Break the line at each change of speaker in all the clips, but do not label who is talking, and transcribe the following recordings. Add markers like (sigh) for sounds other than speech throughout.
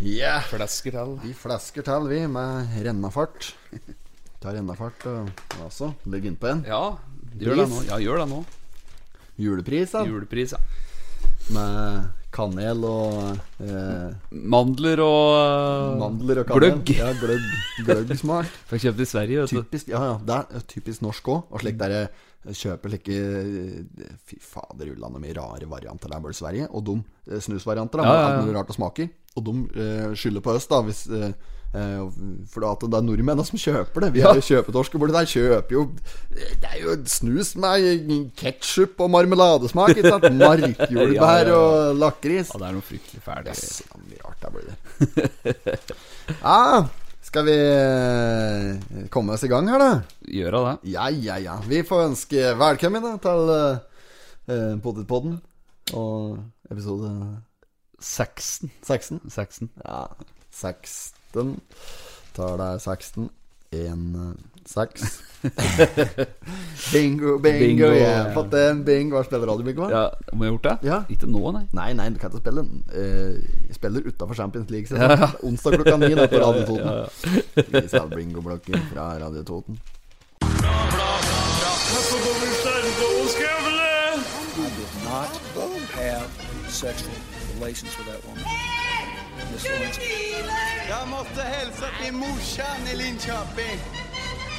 Yeah.
Flesker til.
Vi flasker til, vi, med rennafart. (laughs) Tar rennafart og altså, legger innpå en.
Ja, gjør det nå. Ja, gjør det nå.
Julepris, da.
Julepris. Ja.
Med kanel og eh,
Mandler og eh,
mandler og kanel.
Gløgg.
Ja, gløgg, gløggsmak.
Fikk kjøpt i Sverige, vet du.
Typisk, ja, ja, det er typisk norsk òg. Og slik der jeg kjøper slike eh, Fy fader, ulla, noe mye rare varianter der borte i Sverige. Og de eh, snusvarianter. Ja,
Ja, ja, ja.
Alt mulig rart å smake. i. Og de eh, skylder på oss, da. Hvis, eh, eh, for at det er nordmenn som kjøper det. Vi
(laughs)
har jo kjøpetorsker borti der. Kjøper jo Det er jo snus med ketsjup og marmeladesmak. Ikke sant? Markjordbær
(laughs) Ja, ja, ja.
og lakris.
Ja, det er noe fryktelig fælt.
Yes, ja, mye rart der blir det. (laughs) Ja, skal vi eh, komme oss i gang her, da?
Gjør av det.
Ja, ja, ja. Vi får ønske velkommen da, til uh, Potetpodden og episode
16.
16.
16.
Ja, 16. Tar deg 16. 1, 6.
(laughs)
bingo, bingo,
Bingo,
jeg
ja.
har fått en bingo. Hva spiller radiobingoen?
Ja, Må jeg ha gjort det?
Ja.
Ikke nå, nei.
Nei, nei, du kan ikke spille den. Eh, jeg spiller utafor Champions League. Ja, (laughs) Onsdag klokka ni da, på Radio Toten. Vi sa bingo-blokken fra Radio Toten.
not have sexual relations with that woman. Miss Lewinsky.
Jeg måtte hilse til morsan i Linköping.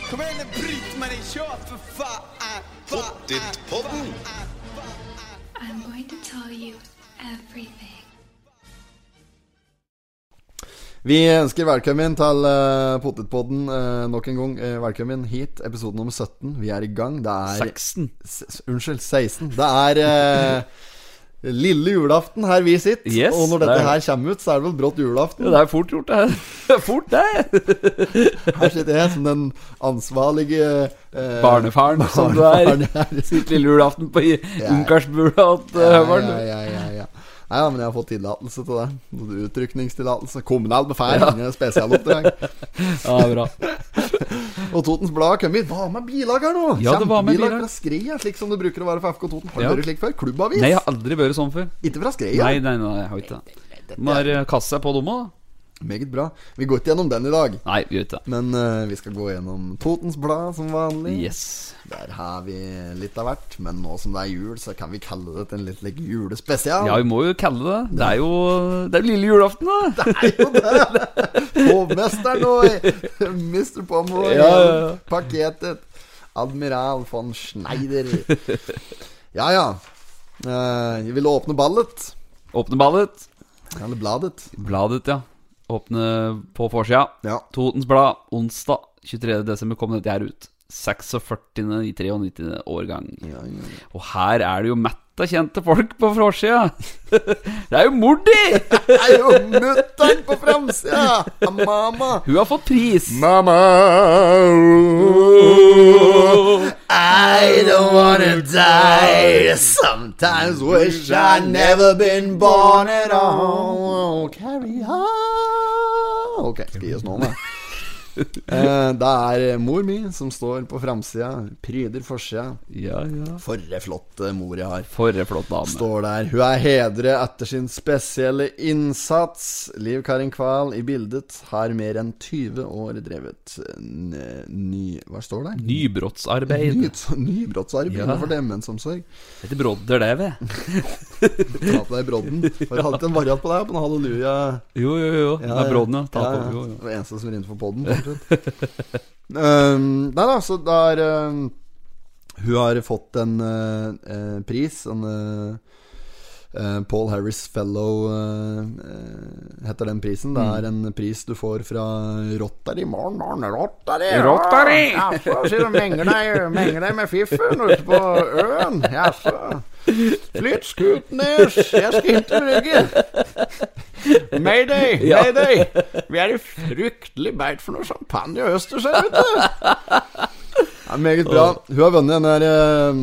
Kom igjen, Britt-Marie, kjør, for faen! Pottit-podden!
I'm going to tell you everything.
Vi ønsker velkommen til eh, Potetpodden eh, nok en gang. Eh, velkommen hit, episode nummer 17. Vi er i gang. Det er
16.
S- Unnskyld, 16. Det er eh, lille julaften her vi sitter.
Yes,
og når
det
dette
er-
her kommer ut, så er det vel brått julaften.
Ja, det er fort gjort, det. (laughs) her. Det er fort, det.
Her sitter jeg som den ansvarlige eh,
Barnefaren som du
barnefaren
er.
(laughs)
(laughs)
her.
Sitt lille julaften på i- ungkarsbula at eh,
Ja, ja,
høveren.
ja, ja, ja. Nei, ja, men jeg har fått tillatelse til det. Utrykningstillatelse. Kommunal befal. Ingen spesialoppdrag.
Ja, bra.
Og Totens Blad har kommet. Hva med bilag her nå?
Ja, det var med
Kjempebilag
bilag.
fra Skreia, slik som det bruker å være for FK Toten. Har du
Ja.
vært slik før? Klubbavis?
Nei, jeg har aldri vært sånn før.
Ikke fra Skreia?
Nei, nei, nei, jeg har ikke det. Når kassa er på dem òg?
Meget bra. Vi går ikke gjennom den i dag.
Nei, gjør ikke det.
Men eh, vi skal gå gjennom Totens Blad som vanlig.
Yes.
Der har vi litt av hvert. Men nå som det er jul, så kan vi kalle det en litt like, julespesial.
Ja, vi må jo kalle det det. Det er jo Det er lille julaften, da.
Hovmesteren eh, og (laughs) Mr. Pomeroy.
Ja, ja, ja.
Pakketet. Admiral von Schneider. Ja, ja. Eh, jeg ville åpne ballet.
Åpne ballet.
Eller bladet.
Bladet, ja. Åpne på forsida.
Ja.
Totens Blad, onsdag 23. desember kom dette her ut. 46. i 93. årgang.
Ja, ja, ja.
Og her er det jo mett av kjente folk på forsida. (laughs) Det er jo Mordi!
Det er jo mutter'n på framsida! Ja, Mamma!
Hun har fått pris.
Mamma I don't wanna die. Sometimes wish I'd never been born at all. Oh, Carry on. Ok, skal gi oss nå, da. Eh, Det er mor mi som står på framsida, pryder forsida.
Ja, ja.
Forre flotte mor jeg har.
For en flott dame.
Står der. Hun er hedret etter sin spesielle innsats. Liv Karin Kval i bildet har mer enn 20 år drevet n ny Hva står det?
Nybrottsarbeid.
Nyt- Nybrottsarbeid
Ja.
innenfor demensomsorg.
Dette brodder det, vi.
Ta på deg brodden. Har du hatt en variant på deg på en halleluja?
Jo, jo, jo. Det er brodden, ja. Ta
Ja,
på.
ja.
Jo, jo.
Det var eneste som ringte for poden. um, nei da, så det er um, Hun har fått en uh, uh, pris. En uh, uh, Paul Harris Fellow uh, uh, heter den prisen. Det er
Mm.
en pris du får fra Rotary. Morn, morn, Rotary! ja.
Rotary!
Jaså, sier du. Menger deg, menger deg med fiffen ute på øen. Jaså. Flytt skuten deres, jeg skal inn til Brygge. (laughs) Mayday,
Ja.
mayday. Vi er i fryktelig beit for noe champagne i østers her ute. Ja, meget bra. Hun har vunnet den der eh,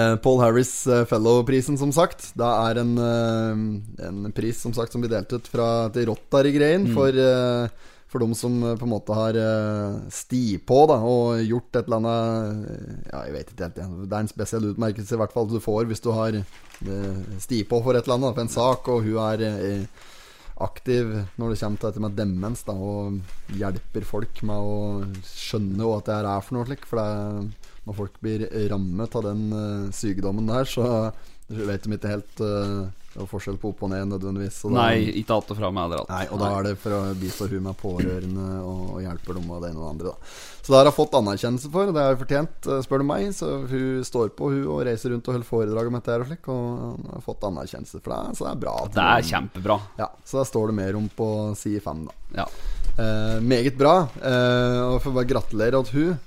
eh, Paul Harris eh, Fellow-prisen, som sagt. Det er en, eh, en pris som sagt som blir delt ut fra, til Rotary-greien for, eh, for de som eh, på en måte har eh, sti på da, og gjort et eller annet eh, Ja, jeg vet ikke helt. jeg. Det er en spesiell utmerkelse i hvert fall du får hvis du har eh, sti på for et eller annet, da, for en sak, og hun er eh, aktiv når det kommer til dette med demens, da, og hjelper folk med å skjønne hva det her er for noe slik. For det, er- når folk blir rammet av den eh, sykdommen der, så vet de ikke helt eh, det er forskjell på opp og ned nødvendigvis. så da-
Nei, ikke alt og fra meg eller alt.
Nei, og da er det for å bistå hun med pårørende og, og hjelper dem og det ene og det andre. Da. Så det har hun fått anerkjennelse for, og det har hun fortjent, eh, spør du meg. Så hun står på hun og reiser rundt og holder foredrag om dette her og slik, og har fått anerkjennelse for det. Så det er bra. at
Det er
hun-
kjempebra.
Ja, Så da står det mer om på side fem, da.
Ja.
Eh, meget bra. Eh, og får bare gratulere til hun.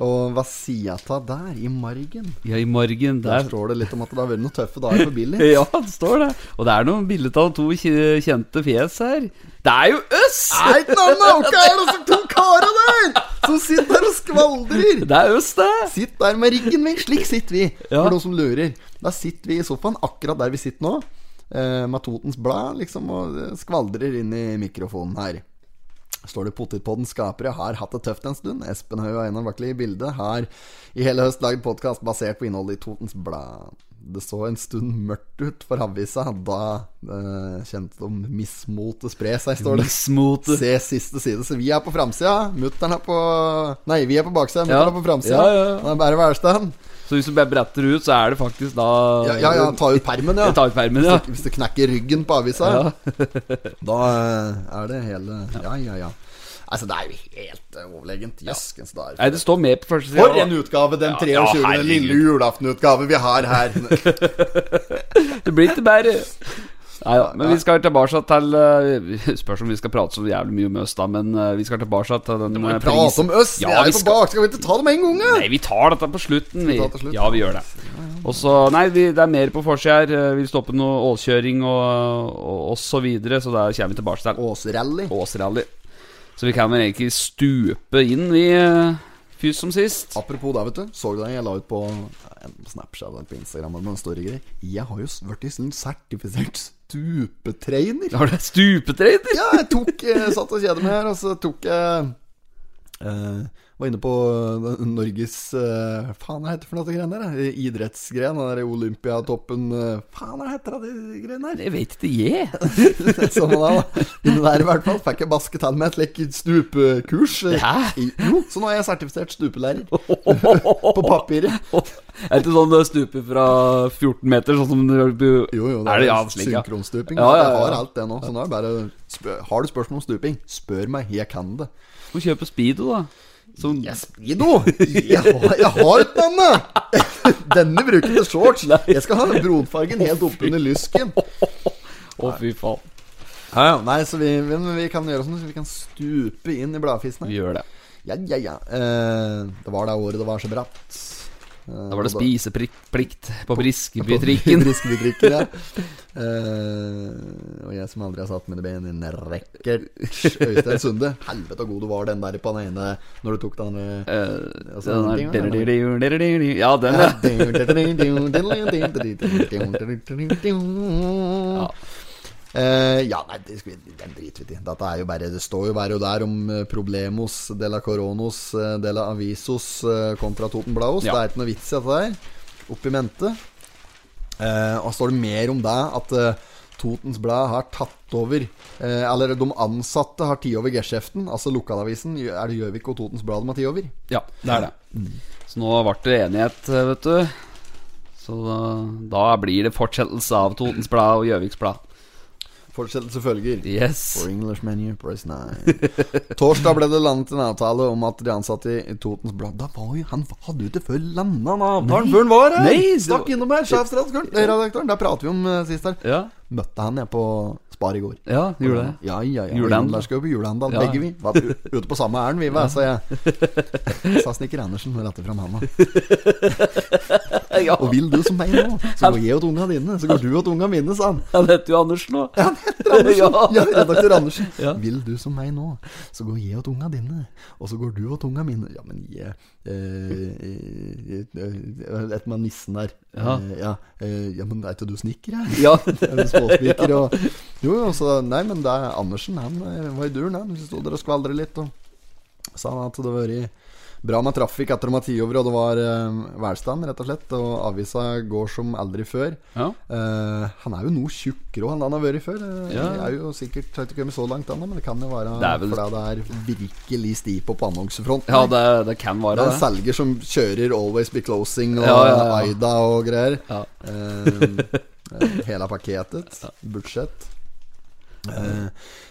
Og hva sier jeg til der, i margen?
ja, i margen
Der
der.
står det litt om at det har vært noen tøffe dager for Billy.
(laughs) Ja, det står det. Og det er noen bilder av to kje- kjente fjes her. Det er jo oss!
Nei, no, no, hva er det som to karer der som sitter der og skvaldrer?
Det er oss, det.
Sitt der med ryggen vink, slik sitter vi.
Ja.
For noen som lurer. Da sitter vi i sofaen akkurat der vi sitter nå, eh, med Totens Blad liksom, og eh, skvaldrer inn i mikrofonen her. Står det 'Potetpodden skapere har hatt det tøft en stund'. Espen Høie og Einar Bakli i bildet har i hele høst lagd podkast basert på innholdet i Totens Blad. Det så en stund mørkt ut for havisa da eh, kjente de mismotet spre seg, står det.
Mismotet.
Se siste side. Så vi er på framsida. Mutter'n er på Nei, vi er på baksida.
Ja.
Mutter'n er på framsida.
Ja, ja, ja.
Han er bare værstand.
Så hvis du bare bretter ut, så er det faktisk da
Ja, ja, ja, ta ut permen, ja.
Jeg tar ut permen, ja.
Hvis du knekker ryggen på avisa, (laughs) da eh, er det hele Ja, ja, ja. Altså, det er jo helt eh, overlegent. Jøskens dag.
Nei, det står med på første sida.
For en utgave, den
ja,
23.
herregud.
lille julaftenutgave vi har
(laughs)
her.
Det blir ikke bedre. Nei da, men vi skal tilbake til eh, Spørs om vi skal prate så jævlig mye om oss, da, men eh, vi skal tilbake til den eh,
Prate om oss! vi
Ja,
er
vi
jo på
skal-
bak. Skal vi ikke ta det med en gang? da?
Nei, vi tar dette på slutten. Vi.
ta det til slutt?
Ja, vi gjør det. Og så, nei, vi, Det er mer på forsida her. Eh, Vi stoppe noe ålkjøring og, og, og så videre, så da kommer vi tilbake til
Åsrally.
Åsrally. Så vi kan vel egentlig stupe inn, vi, eh, fys som sist.
Apropos det, vet du. Så du det jeg la ut på enten på Snapchat eller på Instagram? eller noen story greier Jeg har jo blitt sånn sertifisert stupetrener.
Har du stupetrener?
Ja, jeg tok eh, satt og kjedet meg her, og så tok jeg eh, Var inne på eh, Norges eh, Faen, hva heter det for noe det greiene der? eh, Idrettsgren, den der Olympiatoppen eh, Faen, hva heter det de greiene
(laughs)
der?
Jeg vet ikke, jeg.
Sånn da, da. Inne der i hvert fall fikk jeg basket han med et slikt stupekurs. eh,
Hæ?
I, jo, så nå er jeg sertifisert
(laughs)
stupelærer. På papiret.
Er det ikke sånn eh, stupe fra 14 meter, sånn som Jo,
Jo, jo, det
det
er,
er ja,
jo
slik, ja.
synkronstuping.
Ja, ja,
Jeg har
ja.
alt det nå. Så nå er det bare spør, Har du spørsmål om stuping, spør meg. Jeg kan det.
Må kjøpe Speedo, da. Sånn. Som
Jeg Speedo! Jeg har, jeg har ikke denne! (laughs) Denne bruker til shorts. Jeg skal ha bronfargen helt oppunder lysken.
Å, fy faen.
Ja, ja. Nei, så vi, men vi kan gjøre sånn så vi kan stupe inn i bladfisen
Vi
her.
gjør det.
Ja, ja, ja. Eh, det var det året det var så bratt. Eh,
Da var det
og
spiseplikt på
På
Briskebytrikken.
Briskebytrikken, ja. Eh, og jeg som aldri har satt mine ben i en rekker. Øystein Sunde, helvete hvor god du var den der på den ene når du tok den andre
Eh,
Altså,
den der- Ja, den, ja.
ja. Eh, ja, nei, det skal vi, den driter vi i. Dette er jo bare Det står jo bare og der om eh, problemos de la coronos eh, de la avisos eh, kontra Toten Blaos.
Ja.
Det er ikke noe vits i dette der. Opp i mente. Eh, og står det mer om det at eh, Totens Blad har tatt over eh, Eller de ansatte har tatt over geskjeften, altså lokalavisen. Er det Gjøvik og Totens Blad de har tatt over?
(laughs) ja, det er det. Så nå ble det enighet, eh, vet du. Så da, da blir det fortsettelse av Totens Blad og Gjøviks Blad.
Fortsettelse følger.
Yes.
For English menu, press 9.
(laughs)
Torsdag ble det landet en avtale om at de ansatte i Totens Blad Da var jo han hadde jo ikke før landa den avtalen
Nei.
før han var her!
Nei, det
Stakk
var-
innom her, sjefsredaktøren. eh, redaktøren, Der prater vi om eh, sist her.
Ja,
Møtte han jeg på Spar i går.
ja gjorde det.
Ja, ja, ja.
Julehandel.
Julehandel. Der skal jo på julehandel,
Ja.
begge vi. Var u- ute på samme ærend, vi, hva, sa jeg.
(laughs)
Sa snekker Andersen og rettet fram handa.
Ja,
Og vil du som meg nå, så går jeg og tunga dine, så går du og tunga mine, sa han.
Han heter jo Andersen nå.
Ja, han
(laughs)
heter Andersen.
Ja.
(laughs) Ja, redaktør Andersen.
(laughs) Ja.
Vil du som meg nå, så går jeg og tunga dine, og så går du og tunga mine. Ja, men jeg eh, eh, eh, Et med nissen der.
Ja.
Eh, ja, eh, ja, men er ikke du snekker, jeg? (laughs)
Ja.
Eller
(laughs)
Småspiker og Jo, jo, så Nei, men det er Andersen. Han eh, var i duren, han. Vi sto der og skvaldret litt, og sa han at det var i bra med trafikk etter de var ti over, og det var eh, velstand, rett og slett. Og avisa går som aldri før.
Ja.
Eh, han er jo noe tjukkere enn han har vært før. Eh,
Ja.
Jeg er jo sikkert har ikke kommet så langt ennå, men det kan jo være
Det er vel-
fordi det er virkelig sti på annonsefronten.
Ja, det, det kan
det
være
er en
det.
selger som kjører Always Be Closing og
Ja, ja, ja.
Aida og greier.
Ja.
Eh, eh, hele
(laughs)
paketet. Budsjett. Eh,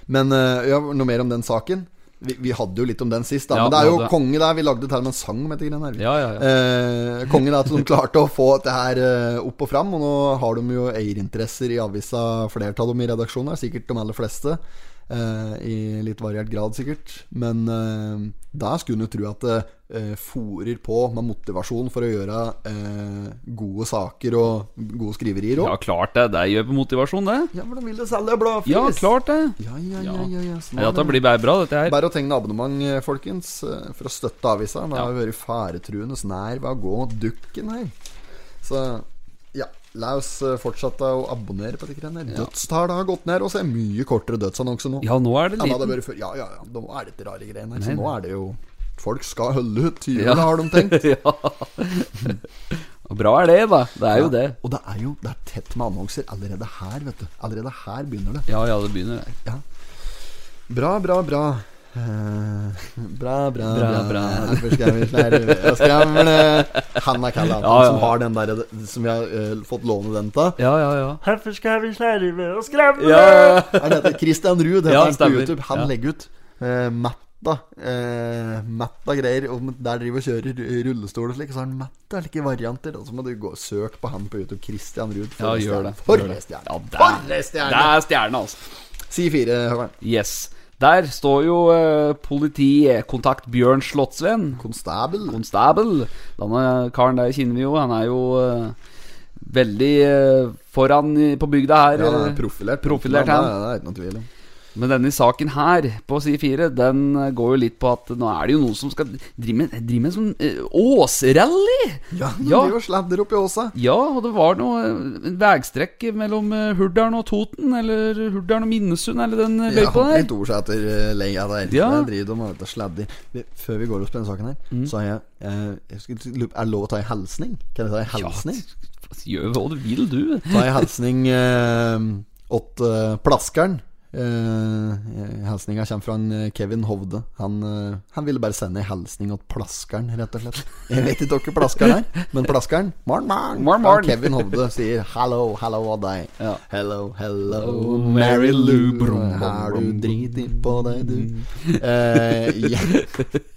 men eh, ja, noe mer om den saken? Vi, vi hadde jo litt om den sist, da.
Ja,
men det er
vi
jo
hadde-
konge der. Vi lagde til og med en sang om dette greiene her.
Ja, ja, ja.
Eh, kongen er at de klarte å få det her eh, opp og fram, og nå har de jo eierinteresser i avisa, flere av dem i redaksjonen, her, sikkert de aller fleste. eh, I litt variert grad, sikkert. Men eh, der skulle en jo tro at det eh, fòrer på med motivasjon for å gjøre eh, gode saker og gode skriverier òg.
Ja, klart det. Det gjør på motivasjon, det.
Ja, hvordan vil det selge bladet?
Ja, klart det.
Ja, ja, ja,
Ja.
ja, ja,
Nei, dette blir bare bra, dette her.
Bare å tegne abonnement, eh, folkens, eh, for å støtte avisa. Det har vært faretruende nær ved å gå dukken her. Så ja, la oss eh, fortsette å abonnere på dette greiene. her. Dødstallene har gått ned, og så er det mye kortere dødsannonse nå.
Ja, nå er det
Enn det hadde
liten.
vært før. Ja, ja, ja. Nå er det ikke rare greiene her. Så
Nei,
nå
nei.
er det jo Folk skal holde ut.
Ja.
Jula har de tenkt.
ja. Og Bra er det, da. (laughs) Det er jo det.
Og det er jo Det er tett med annonser allerede her, vet du. Allerede her begynner det.
Ja, ja, det begynner der.
Ja. Bra, bra, bra. Eh, bra, bra, bra.
Bra, bra.
Hvorfor skal vi slære og skravle? Han er kallet,
Ja,
han
ja.
eh, som har den der som vi har eh, fått låne den av.
Ja, ja, ja.
Hvorfor skal vi slerve og skravle?
Ja,
Er dette Christian Ruud? Heter
Ja,
han på
stemmer.
YouTube. Han
Ja.
legger ut eh, matta eh, Matta greier. Og der driver og kjører i rullestol og slik. Så har han matta like varianter. Og så må du gå og søke på han på YouTube. Christian Ruud.
ja
For en
gjør det.
stjerne. For
Gjør det.
en stjerne.
Ja, der.
For en
Det
stjerne.
er stjerna, altså.
Si fire, Høveren.
Yes. Der står jo eh, politikontakt Bjørn Slottsvenn.
Konstabel.
Konstabel. Denne karen der kjenner vi jo. Han er jo eh, veldig eh, foran i, på bygda her.
Ja,
eh.
profilert.
profilert
Ja,
han.
det er det ikke noe tvil om.
Men denne saken her, på side fire, den eh, går jo litt på at nå er det jo noen som skal drive med, drive med en sånn eh, åsrally!
Ja, de
Ja.
driver og sladder opp i åsa.
Ja, og det var noe eh, vegstrekk mellom eh, Hurdalen og Toten, eller Hurdalen og Minnesund, eller den eh,
Ja,
løypa der.
litt ordsæter eh, leia der.
Ja. Mm.
Der driver de og vet du, sladder. Vi- Før vi går oss på denne saken her, så har jeg, eh, jeg skulle, lurer på, Er det lov å ta en hilsning? Kan jeg ta en hilsning?
Ja, (laughs) gjør hva du vil, du.
Ta en hilsning eh, åt eh, plaskeren. Eh, hilsninga kommer fra en, eh, Kevin Hovde. Han, eh, han ville bare sende en hilsning åt plaskeren, rett og slett. Jeg vet ikke hvem plaskeren er, men plaskeren Morn, morn.
Morn, morn.
Han Kevin Hovde sier 'hallo, hallo og deg'.
Ja.
Hello, hello,
Oh,
Mary
Mary
Lou.
Lou. Brum, brum,
Har du
brum,
driti på deg, du? Eh, ja.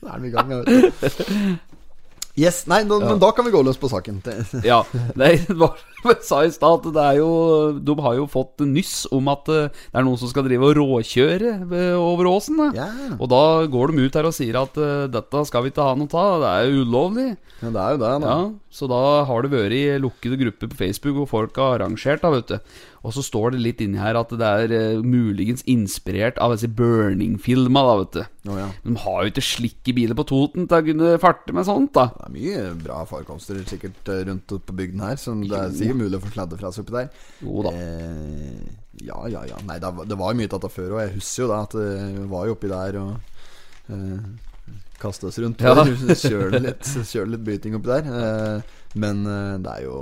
Da er vi i gang, vet du. Yes, nei, nå- men da kan vi gå løs på saken. Det-
Ja, nei, (laughs) det var som jeg sa i stad, at det er jo De har jo fått nyss om at eh, det er noen som skal drive og råkjøre eh, over åsen. Da.
Ja.
Og da går de ut her og sier at eh, dette skal vi ikke ha noe av, det er jo ulovlig.
Ja, det er jo det, da.
Ja, Så da har det vært i lukkede grupper på Facebook, og folk har arrangert, da, vet du. Og så står det litt inni her at det er eh, muligens inspirert av disse burning-filma, da, vet du.
Å, ja.
De har jo ikke slikke biler på Toten til å kunne farte med sånt, da.
Det er mye bra forekomster sikkert eh, rundt på bygden her, så det er sikkert mulig å få sladde fra seg oppi der.
Jo da.
Eh, ja, ja, ja. Nei, det var- det var jo mye av det før òg. Jeg husker jo det, at eh, vi var jo oppi der og eh, kastet oss rundt.
Ja.
Ja. (laughs) Kjørte litt, kjørte litt byting oppi der. Eh, men eh, det er jo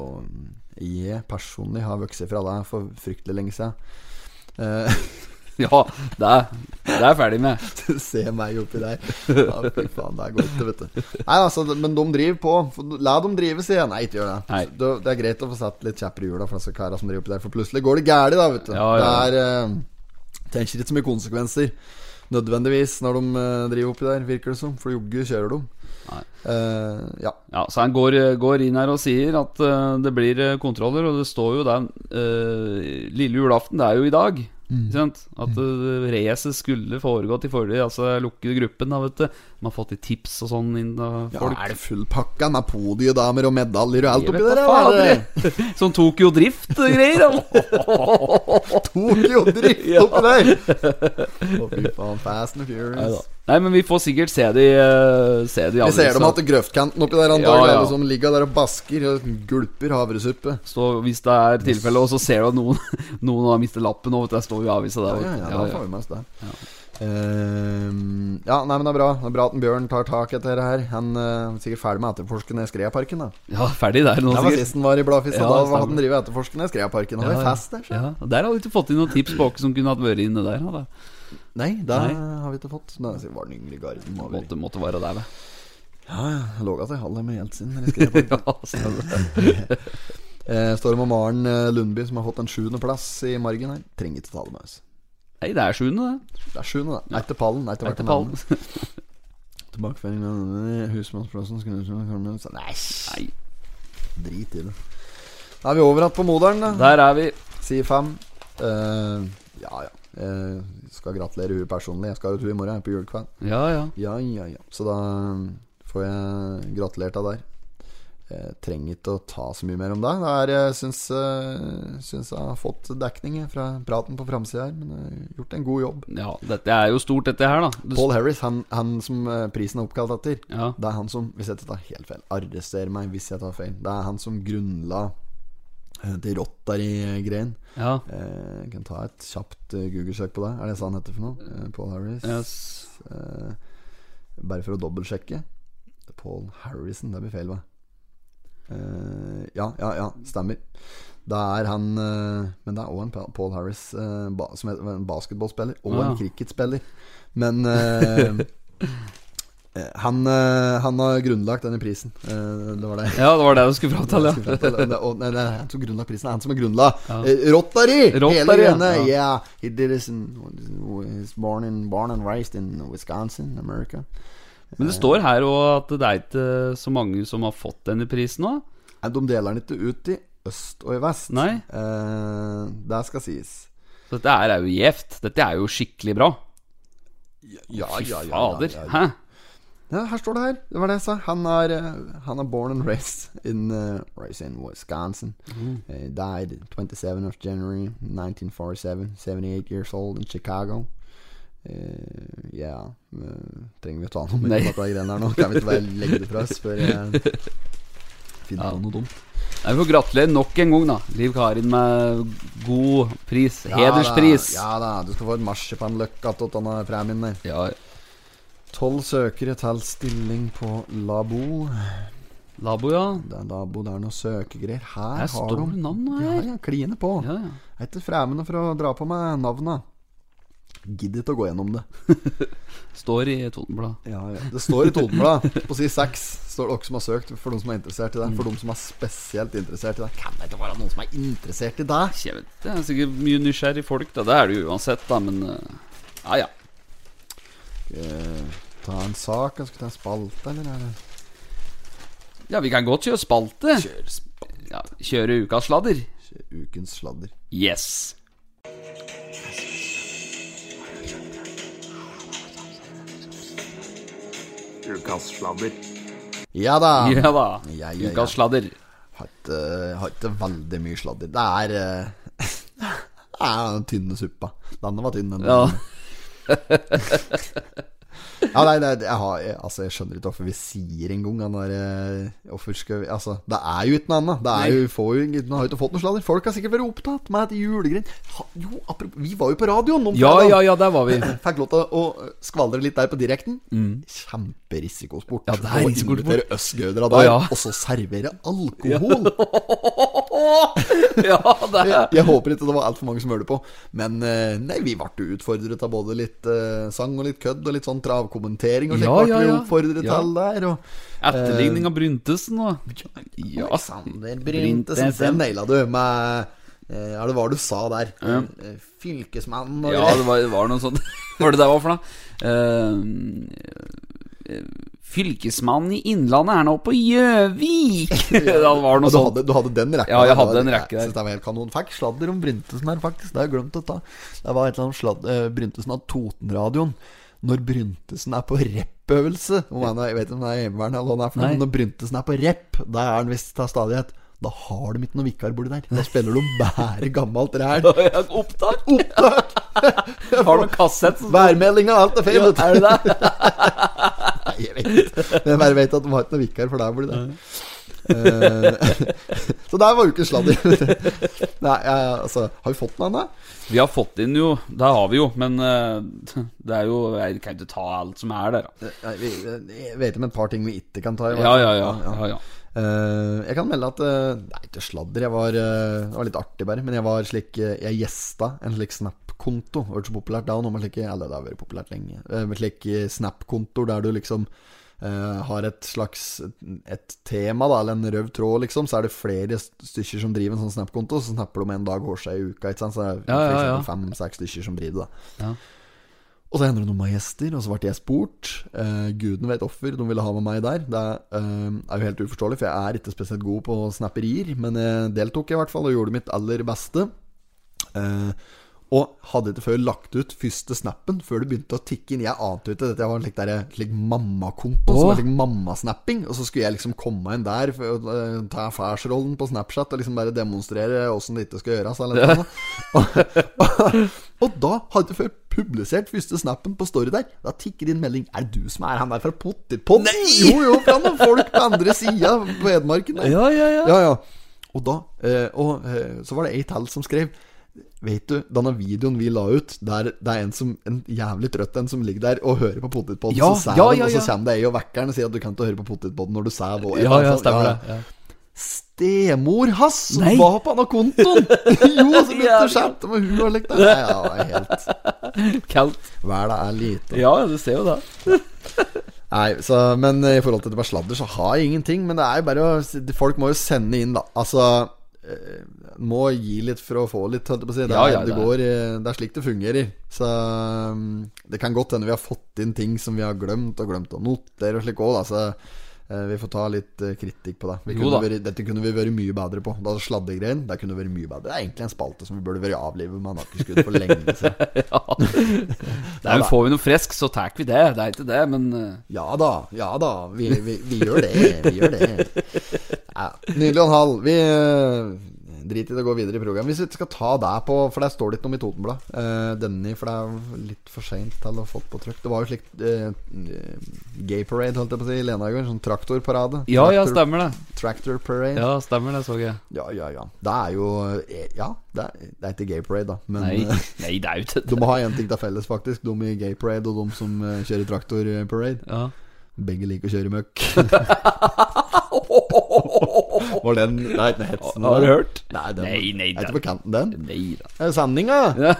Jeg personlig har vokst fra det for fryktelig lenge siden. Eh,
Ja, det er, det er jeg ferdig med.
(laughs) Se meg oppi der. Ja, fy faen, det går ikke, vet du. Nei, altså, men de driver på. La dem drive, sier jeg. Nei, ikke gjør det.
Nei.
Det, det er greit å få satt litt kjepper i hjula for disse karene som driver oppi der, for plutselig går det gærent, da, vet du.
Ja, ja.
Det er eh, Tenker ikke så mye konsekvenser nødvendigvis når de eh, driver oppi der, virker det som. For jogge kjører de.
Nei.
Eh, ja.
Ja, Så han går, eh, går inn her og sier at eh, det blir eh, kontroller, og det står jo der eh, Lille julaften, det er jo i dag.
Mm.
Ikke sant? At uh, racet skulle foregått i forrige altså lukkede gruppen. Da, vet du. Man har fått litt tips og sånn inn av
ja,
folk.
er det fullpakka med podiedamer og medaljer og alt
Jeg
oppi
vet
der?
da
eller?
fader, (laughs) jeg. Sånn tok jo drift-greier.
(laughs) Tokyo-drift
(laughs) Ja.
oppi der! Å, fy faen. Fast and Furious.
Nei, men vi får sikkert se de, eh, se de
Vi ser
avisa.
dem hatt grøftkanten oppi der,
Ja,
antagelig.
ja.
Alle som ligger der og basker og gulper havresuppe.
Så hvis det er (laughs) tilfelle, og så ser du at noen, noen har mistet lappen, og det står jo i avisa
Ja,
der. vet du.
ja, ja, da får vi med oss det. Ehm, ja, nei, men det er bra Det er bra at en Bjørn tar tak etter det her. Han eh, er sikkert ferdig med å etterforske ned Skreaparken. da.
Ja, ferdig der nå,
Det var
sikkert.
sist han var i Bladfisk,
Ja,
og da
stemmer.
hadde han drevet og etterforsket ned Skreaparken. Det var
Ja,
fest der, så.
ja. og Der har vi ikke fått inn noen tips på hvem som kunne hatt vært inne der. Da.
Nei, det
Nei.
har vi ikke fått. Nei, så var den yngre garden må ha vært-
Måtte, måtte være der, da.
Ja, ja. jeg Lå at jeg holdt med helt siden. eller
(laughs)
skrev på.
Ja, stemmer det.
Eh, Står det med Maren eh, Lundby, som har fått en sjuendeplass i margen her. Trenger ikke ta det med oss.
Nei, det er sjuende, det.
Det er sjuende, da. Etter pallen. Etter hvert
Etter
om
pallen.
navnet. Tilbakeføring av denne husmannsplassen skulle hun komme med. Nei,
Nei,
drit i det. Da er vi over igjen på moderen, da.
der er vi.
Sier fem. Eh, ja, ja. Eh, skal gratulere hun personlig. Jeg skal ha tur i morgen, jeg er på julekveld.
Ja, ja.
Ja, ja, ja. Så da eh, får jeg gratulert deg der. Jeg trenger ikke å ta så mye mer om det. Det er, Jeg syns, eh, syns jeg har fått dekning jeg, fra praten på framsida her, men jeg har gjort en god jobb.
Ja, dette er jo stort, dette her, da. Du,
Paul Harris, han, han som eh, prisen er oppkalt etter,
Ja.
det er han som Hvis jeg tar helt feil, arrester meg hvis jeg tar feil. Det er han som grunnla eh, til Rotary-greien.
ja.
Eh, jeg kan ta et kjapt eh, Google-søk på det. Er det så han heter for noe? Eh, Paul Harris?
Yes.
Eh, bare for å dobbeltsjekke. Paul Harrison, det blir feil, hva? Eh, ja, ja, ja, stemmer. Det er han eh, Men det er òg en Pa- Paul Harris eh, ba, som er en basketballspiller, og
Ah, ja.
en cricketspiller. Men eh, (laughs) eh, han, eh, han har grunnlagt denne prisen. Eh, det var det.
ja, det var det du skulle fram til,
Det
ja.
er skuffelt, eller- eller- og- nei, det er han som grunnla prisen. Det er han som har grunnla
Ja.
eh, Rotary! Hele
Rotary, ja.
greiene. Yeah, he did this in, he's born, in, born and raised in Wisconsin, America.
Men det står her òg at det er ikke så mange som har fått denne prisen nå.
Nei, De deler den ikke ut i øst og i vest.
Nei.
Eh, det skal sies.
Så dette her er jo gjevt. Dette er jo skikkelig bra.
Ja,
Fy fader.
ja, ja.
Hæ?
Ja, her står det her. Det var det jeg sa. Han er, eh, han er born and raised in, eh, raised in Wisconsin.
Mm.
Eh, died 27 of January 1947. 78 years old in Chicago. Eh, ja eh, Trenger vi å ta noe med
Nei.
disse greiene her nå? Kan vi ikke bare legge det fra oss før jeg
(laughs)
finner på noe dumt?
Nei, Vi får gratulere nok en gang, da. Liv Karin med god pris. Hederspris.
Ja da, ja da, du skal få et marsipanløkka av denne premien der.
Ja,
Tolv søkere til stilling på Labo.
Labo, ja.
Det er Labo, det er noe søkegreier. Her, har
Her står
de
det navn her.
Ja, ja, kline på.
Ja, ja.
Jeg er ikke fremmed for å dra på meg navnet. Gidder ikke å gå gjennom det.
Står i Totenbladet.
Det står i Totenbladet, på side seks, står det dere som har søkt, for de som er interessert i det. For de som er spesielt interessert i det. Kan det ikke være noen som er interessert i det?
Kjævet, Det er sikkert mye nysgjerrig folk, da. Det er det jo uansett, da, men eh, Ja, ja.
Eh, ta en sak, jeg skal ta en spalte, eller er det
Ja, vi kan godt kjøre spalte.
Kjøre spalte.
Ja, kjøre ukas sladder.
Ukens sladder.
Yes.
Ukas sladder.
Ja da.
Ja da.
Ja, ja, ja.
Ukas sladder.
Har ikke, har ikke veldig mye sladder. Det er eh, (laughs) Det er den tynne suppa. Denne var tynn, den.
Ja.
Ja, nei, nei jeg, har, jeg, altså, jeg skjønner ikke hvorfor vi sier en gang han der, eh, hvorfor skal vi, altså, Det er jo ikke noe annet. Det er jo, får jo, ingen- nå har jo ikke fått noe sladder. Folk har sikkert vært opptatt med et julegrind. Ha- Jo, apropos, vi var jo på radioen om
ja,
fredagen.
ja, ja, der var
(laughs)
vi.
(clears throat) Fikk lov til å eh, skvaldre litt der på direkten. Kjemperisikosport.
Mm. Ja, det
Å
er risikosport.
invitere oss gødere der,
ja.
og så servere alkohol.
Ja, det er
jeg, jeg håper ikke det var altfor mange som hørte på. Men eh, nei, vi ble jo utfordret av både litt eh, sang og litt kødd og litt sånn travkommentering. Og slik
Ja,
ble
ja,
vi
ja.
oppfordret
Ja.
til der. Og
Etterligning av Bryntesen, da. Ja.
Alexander Bryntesen, den naila du med eh, Ja, det var det du sa der. Eh, Fylkesmannen og
Ja,
greier.
det var, var noe sånt. (laughs) Hva var det det var for noe? Eh, eh, fylkesmannen i Innlandet er nå på Gjøvik! (laughs) det var noe
Og du,
sånt.
hadde, du hadde den rekka?
Ja, jeg
der,
hadde
da.
en rekke der.
Jeg synes det var helt kanon. Fikk sladder om Bryntesen her, faktisk. Det har jeg glemt å ta. Det var et eller annet sladd, eh, Bryntesen av Totenradioen. Når Bryntesen er på rappøvelse Om han er- Jeg vet ikke om det er hjemmeværende eller hva det er for noe,
Nei.
men når Bryntesen er på rapp, da er han visst til stadighet. Da har de ikke noe vikarbordi der. Da spiller de bare gammelt ræl.
Ja, (laughs) Opptak? (laughs) Har du en kassett? som-
Værmeldinga og alt er feil.
Ja,
vet du.
er det det?
Nei, jeg vet ikke. Men jeg bare vet at de har ikke noe vikar for deg. Blir det. Eh, (laughs) så der var ukens sladder. (laughs) Nei, jeg, altså Har vi fått den ennå?
(laughs) Vi har fått inn jo Det har vi jo, men eh, (laughs) det er jo Jeg kan jo ikke ta alt som er der. da.
Eh, Nei, vi- Jeg vet om et par ting vi ikke kan ta. i hvert
Ja,
fall.
ja, ja. ja, ja.
Eh, jeg kan melde at eh, Det er ikke sladder. Jeg var, eh, det var litt artig, bare. Men jeg var slik eh, Jeg gjesta en slik Snap-konto. Det var ikke så populært da. Nå, men slik, eller det har vært populært lenge. Eh, Med slik eh, Snap-konto der du liksom eh, har et slags Et tema, da, eller en rød tråd, liksom. Så er det flere st- stykker som driver en sånn Snap-konto. Så snapper de en dag hver seg i uka. Ikke sant? Så er det
Ja, ja,
for
ja.
eksempel fem-seks stykker som driver det. da.
Ja.
Og så hender det noen med gjester, og så ble jeg spurt. Eh, guden vet offer, de ville ha med meg der. Det eh, er jo helt uforståelig, for jeg er ikke spesielt god på snapperier. Men jeg deltok i hvert fall, og gjorde mitt aller beste. Eh, og hadde ikke før lagt ut første snappen, før det begynte å tikke inn. Jeg ante jo ikke dette. Jeg var en slik, der- eh, slik mammakonto, som
Åh.
var slik mammasnapping. Og så skulle jeg liksom komme inn der, for, å, eh, ta affærsrollen på Snapchat og liksom bare demonstrere åssen det ikke skal gjøres. Eller noe sånt. Og da hadde jeg før publisert første snappen på story der. Da tikker det inn melding. Er det du som er han der fra Potterpodden? Jo, jo, fra noen folk på andre sida på
(laughs)
Hedmarken. der.
Ja, ja, ja.
ja, ja. Og da eh, Og eh, så var det ei til som skrev Vet du, denne videoen vi la ut, der det er en som En jævlig trøtt en som ligger der og hører på Potterpodden,
Ja,
så
ja,
sover
ja,
den, og
ja.
så kommer det ei og vekker den og sier at du kan ikke høre på Potterpodden når du sover. og-
Ja, ja,
sånn,
stemmer det. Ja.
Stemor hans som
Nei.
var på denne
(laughs)
kontoen! (laughs) jo, så begynte
Jævlig.
å skjemte med hun og lekte. Nei, ja, det er helt
Kaldt.
Verda er lite.
Ja, du ser jo det. (laughs)
Nei, så, men i forhold til det med sladder, så har jeg ingenting. Men det er jo bare å Folk må jo sende inn, da. Altså eh, Må gi litt for å få litt, holdt jeg på å si. Det er,
Ja, ja,
det,
det er-
går, eh, det er slik det fungerer. Så mm, det kan godt hende vi har fått inn ting som vi har glemt, og glemt å notere og slik òg, da. Så eh, vi får ta litt eh, kritikk på det. Vi
Jo
kunne
da.
vært- dette kunne vi vært mye bedre på. Da Sladdegreien det kunne vært mye bedre. Det er egentlig en spalte som vi burde vært avlivet med nakkeskudd for lenge siden.
(laughs) Ja. Nei, men får vi noe frisk, så tar vi det. Det er ikke det, men eh,
Ja da, ja da. Vi, vi, vi gjør det. Vi gjør det. Ja, nydelig og en halv. Vi eh, driter i det å gå videre i programmet. Hvis vi ikke skal ta deg på For der står det ikke noe om i Totenblad. Eh, denne, for det er litt for seint til å ha fått på trykk. Det var jo slikt eh, gay parade, holdt jeg på å si, i Lena i går. Sånn traktorparade.
Ja, ja,
Traktor-
stemmer det.
Tractor parade.
Ja, stemmer det, så jeg.
Ja, ja, ja. Det er jo eh, Ja, det er, det er ikke gay parade, da. Men
(laughs) Nei,
eh,
nei det er jo ikke
de
det.
må ha én ting til felles, faktisk. De i gay parade og de som eh, kjører traktorparade.
Ja.
Begge liker å kjøre møkk. Var den Nei, den hetsen
(laughs) Har du
der.
hørt?
Nei, den,
Nei, nei,
Er
den-
ikke på kanten, den.
Nei da.
Er det sanninga?
Ja.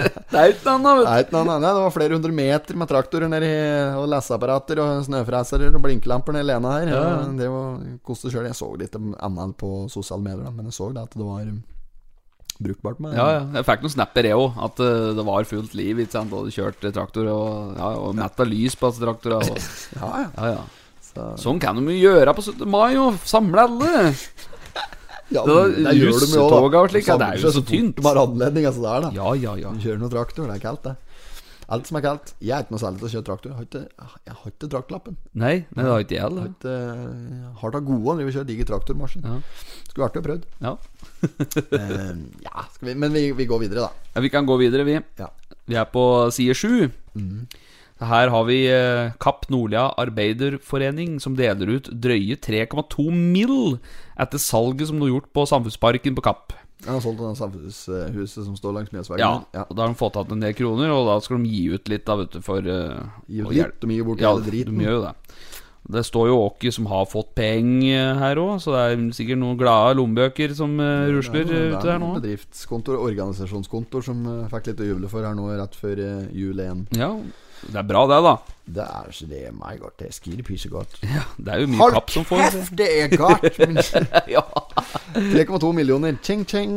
Det er jo ikke noe annet, vet
Nei, nei, nei, nei, det var flere hundre meter med traktorer nedi, og leseapparater og snøfresere og blinkelamper nedi Lena her. Ja.
Ja.
Det var koste sjøl. Jeg så litt annet på sosiale medier, da, men jeg så da at det var um, brukbart med
du. Ja, ja. Jeg fikk noen snapper, jeg òg. At eh, det var fullt liv. Ikke sant? Og du kjørte traktor, og, ja, og metta lys på altså, traktorer. (laughs) Og,
ja, ja.
ja, ja.
Så-
Sånn kan de jo gjøre på 17. mai, jo. Samle alle.
Ja,
Det var
men det gjør de jo da.
russetoga og slik, ja, det
Samler
er jo
seg
så tynt.
fort Bare anledning, altså det er da.
Ja, ja, ja.
Du kjører noe traktor, det er kaldt, det. Alt som er kaldt. Jeg er ikke noe særlig til å kjøre traktor. Jeg har ikke, jeg har ikke draktlappen.
Nei, nei, det har ikke jeg
Jeg
heller.
har ikke, jeg har tatt gode å drive og kjøre diger traktormaskin.
Ja.
Skulle vært å prøvd.
Ja.
Eh, ja, skal vi, men vi, vi går videre, da.
Ja, vi kan gå videre, vi.
Ja.
Vi er på side sju. Mm. Her har vi eh, Kapp Nordlia Arbeiderforening, som deler ut drøye 3,2 mill. etter salget som de har gjort på Samfunnsparken på Kapp.
Jeg har solgt det samfunnshuset som står langs Mjøsveien.
Ja,
ja.
og Da har de fått tatt en del kroner, og da skal de gi ut litt, da, vet du, for eh,
Gi ut
å
litt,
hjel-
de gir bort
ja,
hele driten.
De gjør jo det. Det står jo Åke som har fått penger her òg, så det er sikkert noen glade lommebøker som eh, rusler
Det er
eh, ute der nå.
noen Bedriftskontor, organisasjonskontor, som eh, fikk litt å juble for her nå rett før eh, jul igjen.
Ja, det er bra det, da.
Det er så det my god, det skier pysegodt.
Det er jo mye
Hold
kapp som får
kjeft, det er godt! men-
(laughs) Ja.
3,2 millioner. Ching, ching.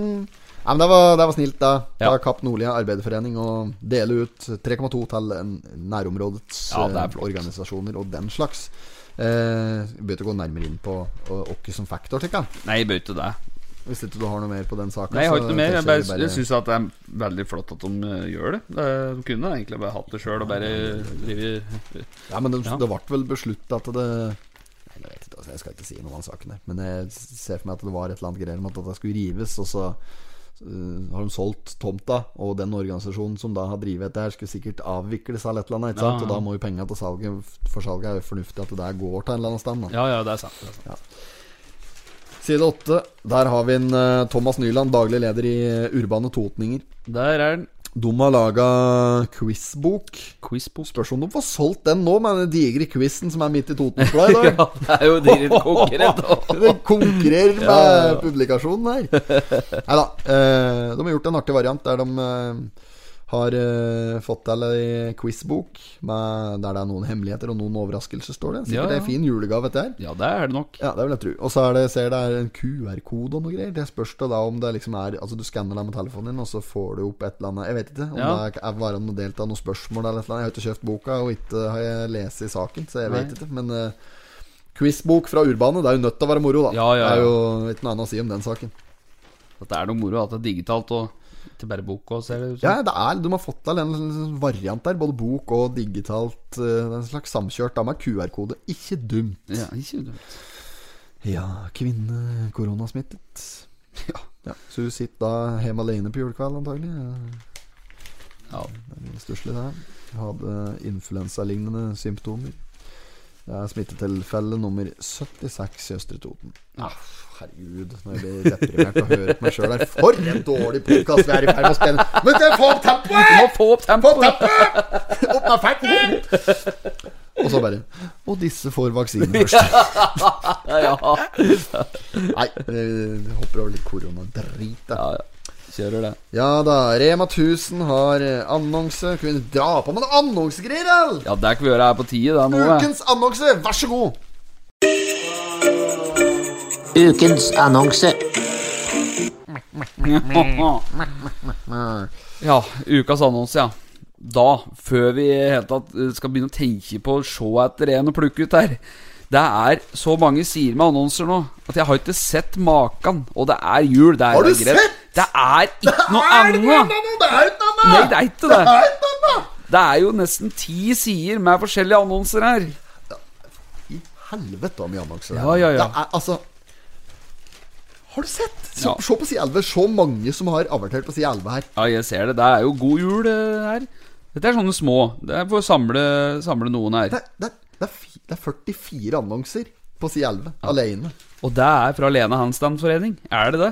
Ja, men det var, det var snilt, da. Ta
Ja.
Kapp Nordlia Arbeiderforening og dele ut 3,2 til eh, nærområdets
Ja, det er
eh,
flott.
organisasjoner og den slags. Eh, vi Begynte å gå nærmere inn på eh, Åkke som factor, tenker jeg.
Nei, bør ikke det.
Hvis ikke du har noe mer på den saken.
Nei, jeg har
så
ikke noe mer. Jeg,
tenker
bare,
vi
jeg syns at det er veldig flott at de eh, gjør det. Det- De kunne egentlig bare hatt det sjøl og bare drive
Ja, men det,
Ja.
det ble vel besluttet at det Nei, jeg vet ikke, altså, jeg skal ikke si noe om saken her. Men jeg ser for meg at det var et eller annet greier om at det skulle rives, og så øh, har de solgt tomta, og den organisasjonen som da har drevet dette her, skulle sikkert avvikles eller et eller annet, ikke sant?
Ja, ja.
Og da må jo penga til salget for salget er jo fornuftig at det der går til en eller annen stand. Da.
Ja, ja, det er sant. Det er sant.
Side åtte. Der har vi en eh, Thomas Nyland, daglig leder i øh, Urbane Totninger.
Der er den.
De har laga quizbok.
Quizbok.
Spørs om de får solgt den nå, med den digre quizen som er midt i Totenfly i dag.
(laughs) Ja, det er jo (laughs) direkt konkurrent.
Det konkurrerer med publikasjonen her. Nei da. Eh, de har gjort en artig variant der de eh, har eh, fått til ei quizbok med, der det er noen hemmeligheter og noen overraskelser, står det.
Ja,
Sikkert
ja.
ei fin julegave, dette her.
Ja, det er det nok.
Ja, det vil jeg tro. Og så er det, ser det er en QR-kode og noe greier. Det spørs det da om det liksom er Altså, du skanner deg med telefonen din, og så får du opp et eller annet Jeg vet ikke om
Ja.
det er var noe delt av noen spørsmål eller et eller annet. Jeg har ikke kjøpt boka, og ikke har jeg lest i saken, så jeg
Nei.
vet ikke. Men eh, quizbok fra Urbane, det er jo nødt til å være moro, da.
Ja, ja,
Det er
ja.
jo ikke noe annet å si om den saken.
At det er noe moro at det er digitalt og til bare bok og ser det ut
Ja,
som.
det er, de har fått til en sånn variant der, både bok og digitalt. eh, En slags samkjørt da med QR-kode. Ikke dumt.
Ja, ikke dumt.
Ja, kvinne koronasmittet. Ja. Så hun sitter da hjemme alene på julekveld, antagelig. Ja,
Ja,
Det er Stusslig, det her. Hun Hadde influensalignende symptomer. Det er smittetilfelle nummer 76 i Østre Toten. Ah, herregud, når jeg blir deprimert og hører på meg sjøl her. For en dårlig podkast vi er i ferd med å spille! Men det får tempoet!
Må få opp tempoet!
Opp med ferten! Og så bare Og disse får vaksinen først.
Ja,
Nei, vi hopper over litt koronadrit, da.
ja, ja. Kjører det.
Ja da, Rema 1000 har eh, annonse. Kunne vi dra på med noen annonsegreier, vel?
Ja, det kan vi gjøre her på tide, det er nå. det.
Ukens annonse, vær så god!
Ukens annonse.
(laughs) Ja, ukas annonse, ja. Da, før vi i hele tatt eh, skal begynne å tenke på å se etter en og plukke ut her Det er så mange sider med annonser nå at jeg har ikke sett maken. Og det er jul. Det er
Har du
greit.
sett?
Det er ikke noe
Er det noe
annet!
annet? Det er ikke noe
Nei,
annet!
det er ikke det.
Det er ikke noe annet!
Det er jo nesten ti sider med forskjellige annonser her.
I helvete om annonser
Ja, ja, ja.
Det er altså Har du sett? Se,
Ja.
se på side 11. Så mange som har avertert på side 11 her.
Ja, jeg ser det. Det er jo god jul eh, her. Dette er sånne små. Det er for å samle, samle noen her.
Det, det, det, er, fi- det er 44 annonser på side 11 alene.
Og det er fra Lene Handstandforening. Er det det?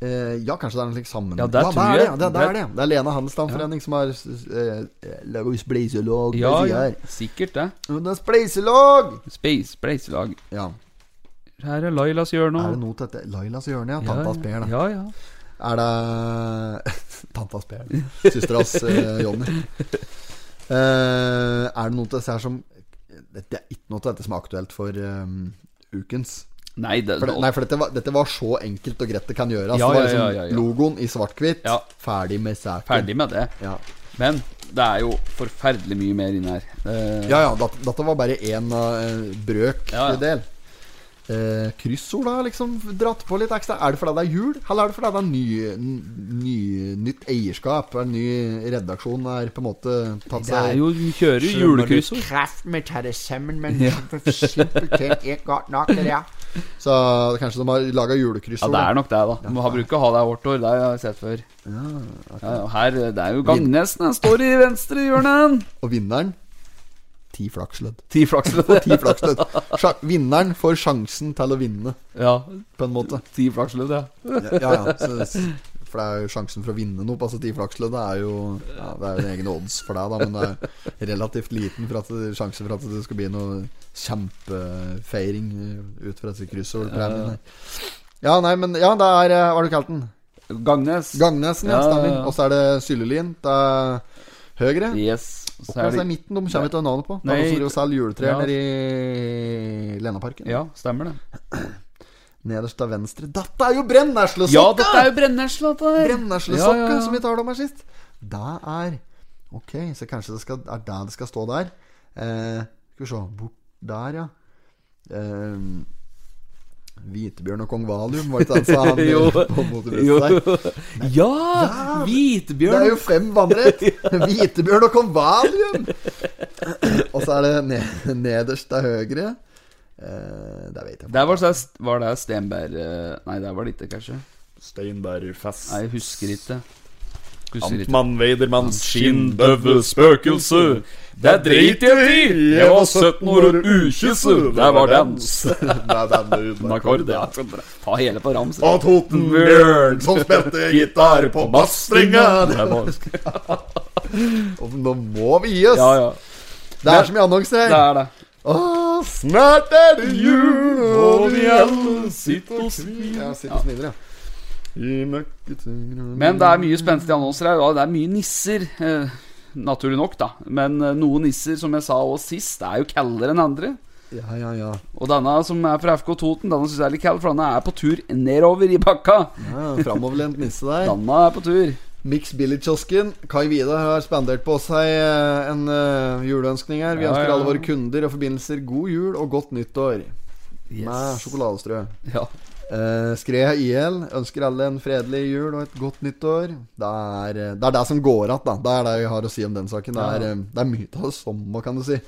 Eh, ja, kanskje det er en slik sammen...
Ja, der
det
tror
er
jeg-
det, det, det er det. Det er Lene Handelsstandforening som har eh, laget spleiselag.
Ja,
på siden
ja.
her.
sikkert det.
Men det er spleiselag!
Space, spleiselag.
Ja.
Her er Lailas hjørne.
Er det
og-
noe til dette? Lailas hjørne, ja.
Ja,
Tantas Per, da.
Ja, ja.
Er det (laughs) Tantas Per. Søsteras uh, Jonny. Eh, er det noe til disse her som Det det er ikke noe til dette som er aktuelt for eh, ukens.
Nei, det,
For det, nei, for dette var, dette var så enkelt og greit det kan gjøres.
Ja,
det var
ja,
liksom
ja, ja, ja.
Logoen i svart-hvitt.
Ja.
Ferdig med saken.
ferdig med det.
Ja.
Men det er jo forferdelig mye mer inni her. Eh,
Ja, ja, dette, dette var bare én uh,
Ja, ja.
brøkdel. Eh, kryssord har liksom dratt på litt ekstra. Er det fordi det er jul, eller er det fordi det er ny, n- ny, nytt eierskap? Er det ny redaksjon er på en måte tatt
Det er
seg
jo, vi kjører jo julekryssord.
Kraft med ta det sammen, men
Ja.
simpelthen ikke godt nok, det der.
Så kanskje de har laga
Ja,
julekryssord?
det er nok det, da. Man bruker å ha det hvert år. Det har jeg sett før. Ja, og her, eh, det er jo Gangnesen. Han står i venstre hjørne.
da. Og vinneren ti flakslødd.
Ti flaksløv.
Ti
(laughs)
flakslødd. Sja- vinneren får sjansen til å vinne,
Ja,
på en måte.
ti flaksløv, ja.
Ja, ja, så, For det er jo sjansen for å vinne noe på altså, ti flakslødd. Det er jo ja, Det er jo egne odds for deg, da, men det er relativt liten for at det, sjanse for at det skal bli noe kjempefeiring eh, ut fra disse kryssordpremiene. Ja, nei, men Ja, det er eh, Hva er det du kalte den?
Gangnes.
Gangnesen, ja.
Ja, ja, ja.
stemmer. Og så er det Syllelien. Det er høyre.
Yes.
Og
Så
så er
er det
midten. De kommer ikke til å ha navnet på. Det er noen som
Nei.
driver og selger juletrær
Ja.
nede i Lenaparken.
Ja, stemmer det.
Nederst til venstre. Dette er jo brenneslesokka!
Ja, dette er jo brennesle, dette her.
Brenneslesokka
Ja, ja, ja.
som vi talte om her sist. Det er Ok, så kanskje det skal, er der det skal stå der. Eh, skal vi se Bort der, ja. Eh, Hvitebjørn og kong Valium, var det ikke den sa
(laughs)
han
Jo.
på motebrystet
Jo.
der?
Ja!
Det
Hvitbjørn.
er jo fem
(laughs)
vannrett! Hvitebjørn og kong Valium! (clears throat) og så er det ne- nederst til høyre eh, Der vet jeg
Der var, det- sånn var det Stenberg eh, Nei, der var det ikke, kanskje.
Steinbergfest.
Nei, jeg husker ikke. Skulle si litt
Antmann Weidermanns skinnbøvve spøkelse. Det dreit jeg i! Jeg var 17 år og ukysset. Det var dans.
(laughs) Det er den lyden.
Med akkord, ja.
Ta hele på rams.
Og Totenbjørn som spilte gitar på bassstringa.
Det var-
Og Nå må vi gi oss.
Ja, ja.
Det er så mye annonser
Det
her.
er det.
Åh, snart er det jul, og vi alle
sitter og smiler.
Ja, sitter og smiler, ja. I møkketunger
Men det er mye spenstige annonser her. og Det er mye nisser. eh, Naturlig nok, da. Men eh, noen nisser, som jeg sa også sist, det er jo kaldere enn andre.
Ja, ja, ja.
Og denne som er fra FK Toten, denne syns jeg er litt kald, for denne er på tur nedover i bakka.
ja Framoverlent nisse der.
Denne er på tur.
Mix Billigkiosken. Kai Vidar har spandert på oss ei, eh, en eh, juleønskning her. Vi
Ja,
ønsker
ja.
alle våre kunder og forbindelser god jul og godt nyttår. Med sjokoladestrø.
Ja.
Eh, Skred IL ønsker alle en fredelig jul og et godt nyttår. Det er eh, det, er det som går igjen, da. Det er det vi har å si om den saken. Det er, eh, det er mye av det samme, kan du si.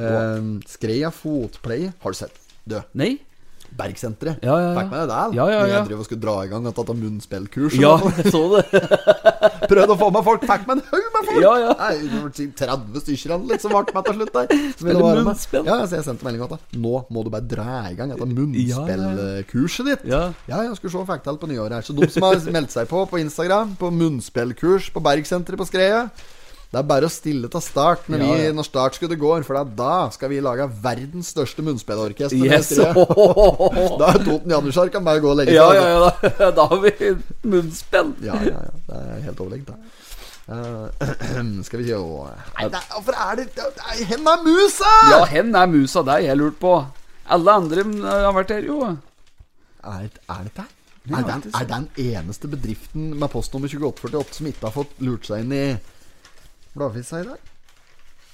Eh, Skreia fotpleie, har du sett? Du,
Nei?
Bergsenteret.
Ja, ja, ja.
Fikk med deg det? eller?
Ja, ja,
Når
ja.
Jeg drev og skulle dra i gang dette munnspillkurset. (laughs)
(laughs) Ja, jeg så det.
Prøvde å få med folk. Fikk med en haug med folk!
Ja, ja.
Nei, det var si 30 stykker eller litt som ble med til slutt der. Som ville
Spille
være med.
munnspill.
Ja, så jeg sendte melding at da, nå må du bare dra i gang dette
Ja, ja, ja.
munnspillkurset ditt.
Ja.
Ja, jeg skulle se hva jeg fikk til på nyåret her. Så de som har meldt seg på på Instagram, på munnspillkurs på Bergsenteret på Skreia Det er bare å stille til start når,
Ja, ja.
vi, når startskuddet går, for da- da skal vi lage verdens største munnspillorkester. på
Yes.
Skreia. Da er Toten Janusjar kan bare gå og legge seg.
(laughs)
altså.
Ja, ja, ja. (laughs) Da, da har vi munnspill.
ja, ja, ja. Det er helt overlegg, da. Eh, (clears throat) skal vi se Nei, det er- Hvorfor er det det er- Hen er musa!
Ja, hen er musa, det har jeg lurt på. Alle andre eh, har vært her, jo.
Er, er det der? Er den, er den eneste bedriften med postnummer 2848 som ikke har fått lurt seg inn i bladavisa i dag?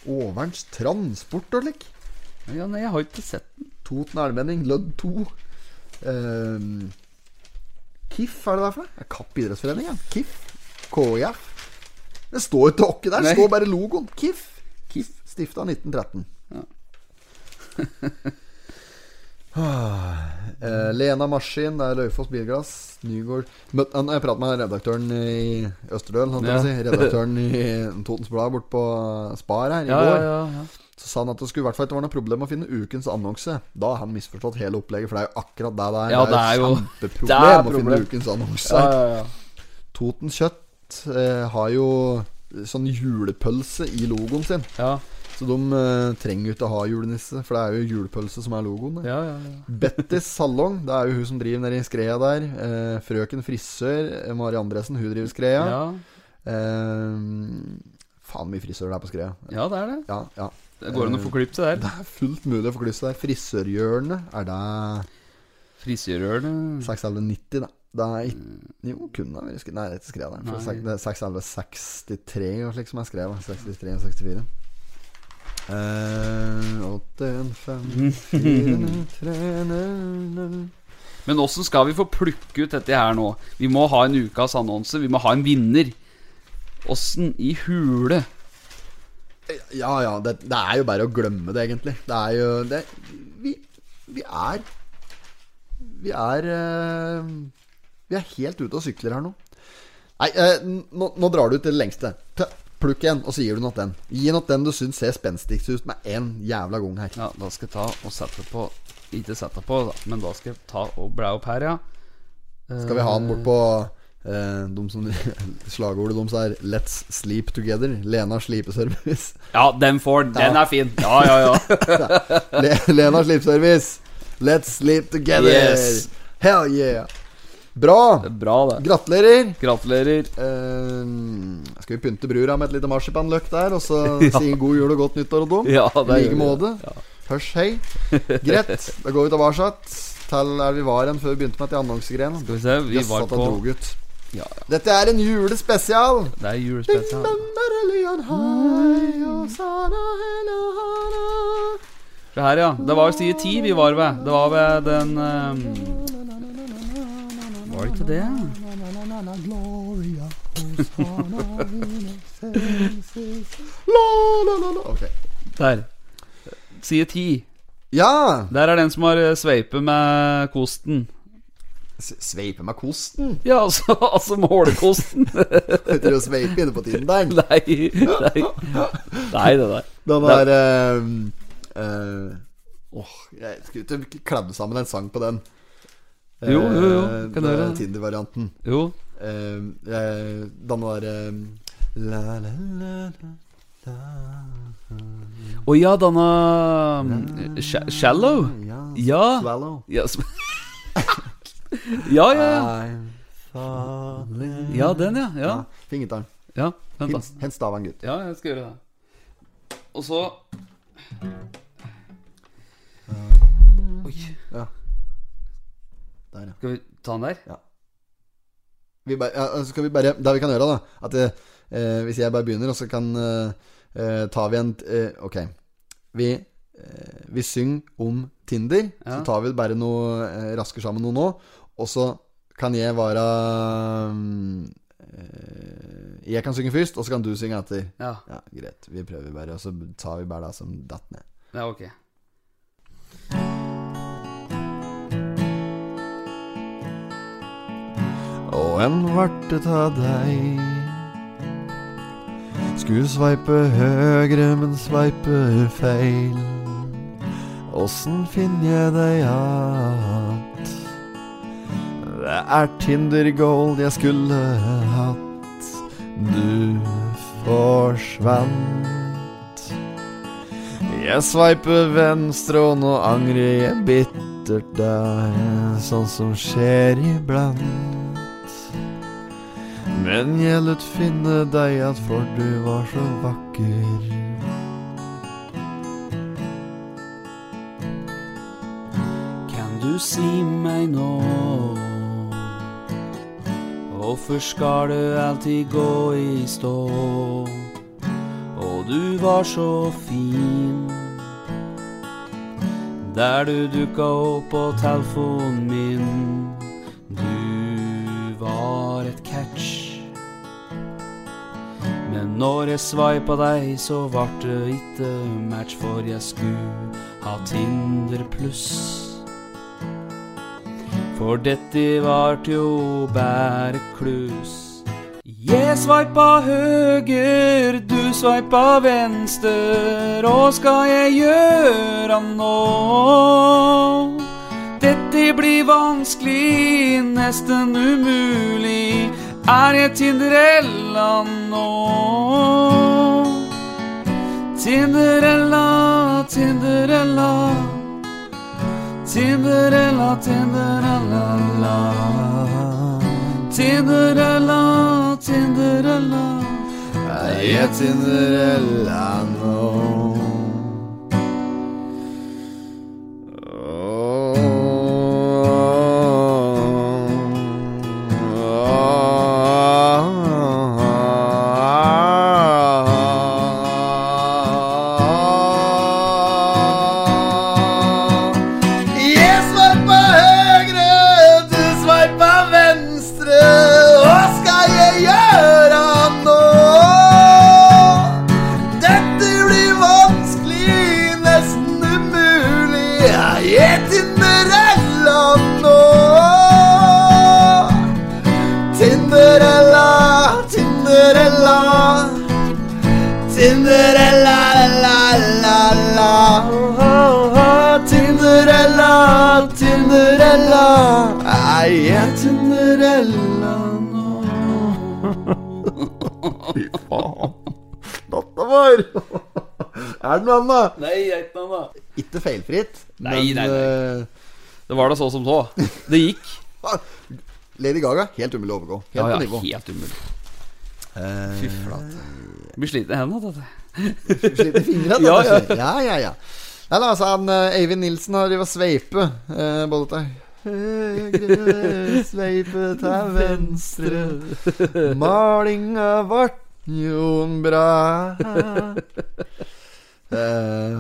Overens Transport og lik.
Ja, nei, jeg har ikke sett den.
Toten Elmenning, Lødd 2. Ehm, KIF, er det der for noe? Ja, Kapp idrettsforening, ja. KIF. KIF. Det står ikke åkke der, det
Nei.
står bare logoen. KIF.
Kiff.
Stifta 1913. (laughs) Eh, Lena Maskin, det er Løyfoss Bilglass. Nygård Møt, han- Jeg pratet med redaktøren i Østerdøl, holdt jeg på å
Ja.
si. Redaktøren i Totens Blad borte på Spar her i
Ja,
går.
ja, ja, ja.
Så sa han at det skulle i hvert fall ikke være noe problem å finne ukens annonse. Da har han misforstått hele opplegget, for det er jo akkurat det det er.
Ja, det er jo- det
kjempeproblem
er
å finne
problem.
ukens annonse.
ja, ja, ja.
Toten Kjøtt eh, har jo sånn julepølse i logoen sin.
ja,
Så de eh, trenger jo ikke å ha julenisse, for det er jo julepølse som er logoen. det.
ja, ja, ja.
Bettis Salong, det er jo hun som driver nede i Skreia der. Eh, frøken Frisør, eh, Mari Andresen, hun driver Skreia.
Ja,
Eh, faen mye frisører det er på Skreia.
ja det er det.
Ja, ja.
Det går an å få klipp til der.
Det er fullt mulig å få kluss der. Frisørhjørnet, er det
Frisørørene
61190, da? Det er ikke Jo, kunne det vært skrevet Nei, det er ikke skrevet der. For
Nei.
sek- Det er 61163 og slik som er skrevet. 63 og 64. Eh, 8153
Men åssen skal vi få plukke ut dette her nå? Vi må ha en ukas annonse. Vi må ha en vinner. Åssen i hule?
Ja ja, det, det er jo bare å glemme det, egentlig. Det er jo det, vi, vi er Vi er eh, Vi er helt ute og sykler her nå. Nei, eh, nå, nå drar du til det lengste. Ta- Plukk en, og så gir du den til den. Gi den til den du syns ser spenstigst ut, med én jævla gang her.
Ja, da skal jeg ta og sette på Ikke sette på, da, men da skal jeg ta og blæ opp her, ja.
Skal vi ha den bort på eh, de som, (laughs) slagordet deres er 'Let's sleep together'. Lena slipeservice.
Ja, den får den. Den er fin. Ja, ja, ja.
Le Lena Slipservice. Let's sleep together.
Yes.
Hell yeah. Bra.
Bra, (laughs) det.
Gratulerer.
Gratulerer.
Eh, skal vi pynte brura med et lite marsipanløk der, og så si god jul og godt nyttår og dom?
Ja,
I
det
like
gjør vi.
måte. Hørs, hei. Greit. Da går vi tilbake til der vi var igjen før vi begynte med de annonsegreiene.
Skal vi se, vi
Jøss,
var
at det
på
drog ut.
Ja, ja.
Dette er en julespesial.
Det er julespesial. Det her, ja. Det var jo side ti vi var ved. Det var ved den eh, Var det ikke det?
Ok.
Der. Side ti.
Ja!
Der er den som har eh, sveipet med kosten.
S- Sveipe med kosten?
Ja, altså, (laughs) altså målekosten. (laughs)
Heter det å sveipe inne på Tinderen?
nei, nei. Nei, det der.
Den der eh, eh, Åh, jeg skulle ikke klemme sammen en sang på den.
Jo, jo, jo,
Eh,
kan du gjøre
den
det?
Tinder-varianten.
Jo.
Eh, eh, den der eh, la, la, la, la.
Å ja, denne mm, sha- Shallow?
Ja.
Ja.
Swallow.
Ja, sm- (laughs) ja, ja,
Ah.
ja.
I'm falling
Ja, den, ja. Ja,
Ja, Fingertang.
ja vent, da.
Hils- Hils Stavang, gutt.
Ja, jeg skal gjøre det. Og så Oi.
Der, ja.
Skal vi ta den der?
Vi bare, ja, altså skal vi bare Det vi kan gjøre, da At eh, eh, hvis jeg bare begynner, og så kan eh, eh, Tar vi en eh, Ok. Vi, eh, vi synger om Tinder. Så
Ja.
tar vi bare noe eh, rasker sammen noe nå. Og så kan jeg være mm, eh, Jeg kan synge først, og så kan du synge etter.
Ja.
Ja, greit. Vi prøver bare, og så tar vi bare det som datt ned.
Ja, ok.
Og en vartet av deg Skulle sveipe høyre, men sveiper feil Åssen finner jeg deg att? Det er Tinder-gold jeg skulle hatt Du forsvant Jeg sveiper venstre, og nå angrer jeg bittert deg Sånn som skjer iblant men jeg lot finne deg at for du var så vakker.
Kan du si meg nå Hvorfor skal det alltid gå i stå? Og du var så fin Der du dukka opp på telefonen min Du var et catch Men når jeg sveipa deg så vart det ikke match For jeg skulle ha Tinder pluss for dette vart jo bare klus. Jeg sveipa høger, du sveipa venstre. Hva skal jeg gjøre nå? Dette blir vanskelig, nesten umulig. Er jeg Tinderella nå? Tinderella, Tinderella. Tinderella, Tinderella, la. Tinderella, Tinderella.
Er jeg Tinderella nå? Jeg sveipa høyre, du sveipa venstre. Hva skal jeg gjøre nå? Dette blir vanskelig, nesten umulig. Jeg Tinderella nå. Tinderella, Tinderella. Tinderella, la, la, la. Tinderella, Tinderella. Er jeg Tinderella nå? (laughs) Fy faen. Dette var (laughs) Er det noe annet?
Nei, geitene, da.
Ikke feilfritt,
Nei, nei,
men
Det var da så som så. Det gikk.
eh, Lady Gaga, helt umulig å overgå. Helt
(laughs) Ja, ja,
på nivå.
helt umulig.
Eh,
Blir sliten i hendene. dette.
Sliter fingrene,
(laughs) Ja,
ja, ja. ja, ja, ja. Nei, da, altså, han, eh, Eivind Nilsen har drevet og sveipe eh, både til
(laughs)
høyre, sveipe til venstre. Malinga vart jon bra. (laughs)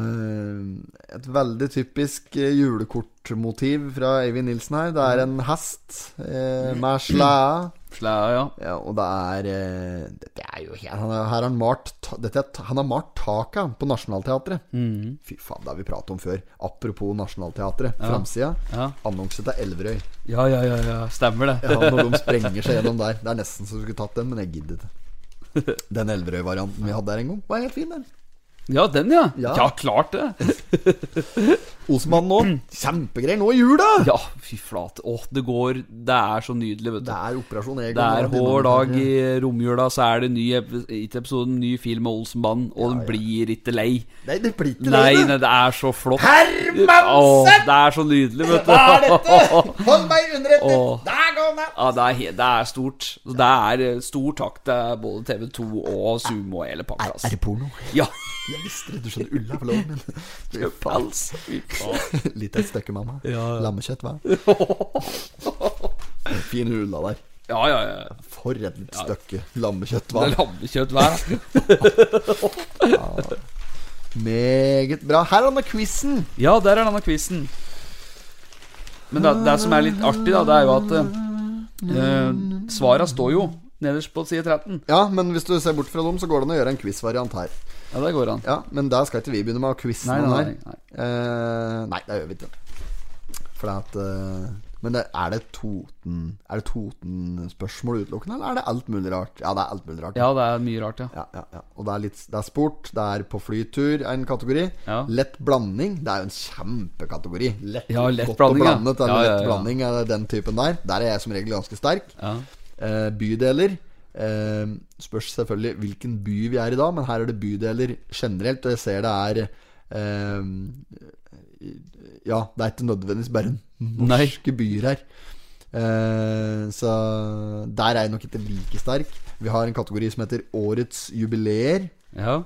Eh, et veldig typisk eh, julekortmotiv fra Eivind Nilsen her. Det er en hest eh, med slæ.
Slea, ja.
Ja, og det er eh, Dette er jo helt Han har, her har han malt ta- dette, er ta- Han har malt taka på Nationaltheatret. Fy faen, det har vi pratet om før. Apropos Nationaltheatret. Framsida.
Mm. Ja.
Annonse til Elverøy.
Ja, ja, ja, ja. stemmer det.
Ja, når de sprenger seg gjennom der. Det er nesten så du skulle tatt den, men jeg gidder ikke.
(laughs)
Den Elverøy-varianten vi hadde her en gang, var helt fin, den.
Ja, den, ja.
Ja.
Ja, klart det.
Osman nå. Kjempegreier nå i jula! (laughs)
Ja, fy flate. Åh, det går Det er så nydelig, vet du.
Det er operasjon Egon.
Det er
og
hver dag
denne-
i romjula, så er det ny ep- ikke episode, ny film med Olsenbanden, og den blir ikke lei.
Nei, det blir ikke
Nei,
det.
nei, det er så flott. Åh,
Hermansen!
det er så nydelig, vet du.
Hva er dette? Hold meg underrettet!
Åh.
Der går han!
(laughs) Ja, det er, he- det er stort. Så Det er eh, stor takk til både TV2 og Sumo og hele pakka.
Er
Altså.
det porno?
Ja.
Jeg visste det, du skjønner Ulla på låven
(laughs)
min. Det er fals. (laughs) Litt av et stykke, mamma. Lammekjøtt,
(laughs)
hva? Fin Ulla der.
ja, ja, ja.
For et litt stykke lammekjøtt,
Det
hva?
er lammekjøtt hver.
Meget bra. Her er denne quizen.
Ja, der er denne quizen. Men det, det som er litt artig, da, det er jo at eh, svara står jo nederst på side 13.
Ja, men hvis du ser bort fra dem, så går det an å gjøre en quiz-variant her.
Ja, der går han.
Ja, Men der skal ikke vi begynne med å quize
Nei,
noen
nei,
her.
nei.
Eh, nei, det gjør vi ikke. For det at eh, Men det, er det Toten Er det Toten-spørsmål utelukkende, eller er det alt mulig rart? Ja, det er alt mulig rart.
Ja, det er mye rart, ja.
Ja, ja, ja. Og det er, litt, det er sport, det er på flytur er en kategori.
Ja.
Lett blanding, det er jo en kjempekategori. Lett,
Ja, lett
godt
blanding,
å
ja.
blande til
Ja, ja,
lett
ja.
blanding er den typen der. Der er jeg som regel ganske sterk.
ja.
Eh, bydeler. Eh, spørs selvfølgelig hvilken by vi er i da, men her er det bydeler generelt. Og jeg ser det er eh, Ja, det er ikke nødvendigvis bare norske byer her. Eh, så der er jeg nok ikke like sterk. Vi har en kategori som heter Årets jubileer.
Ja.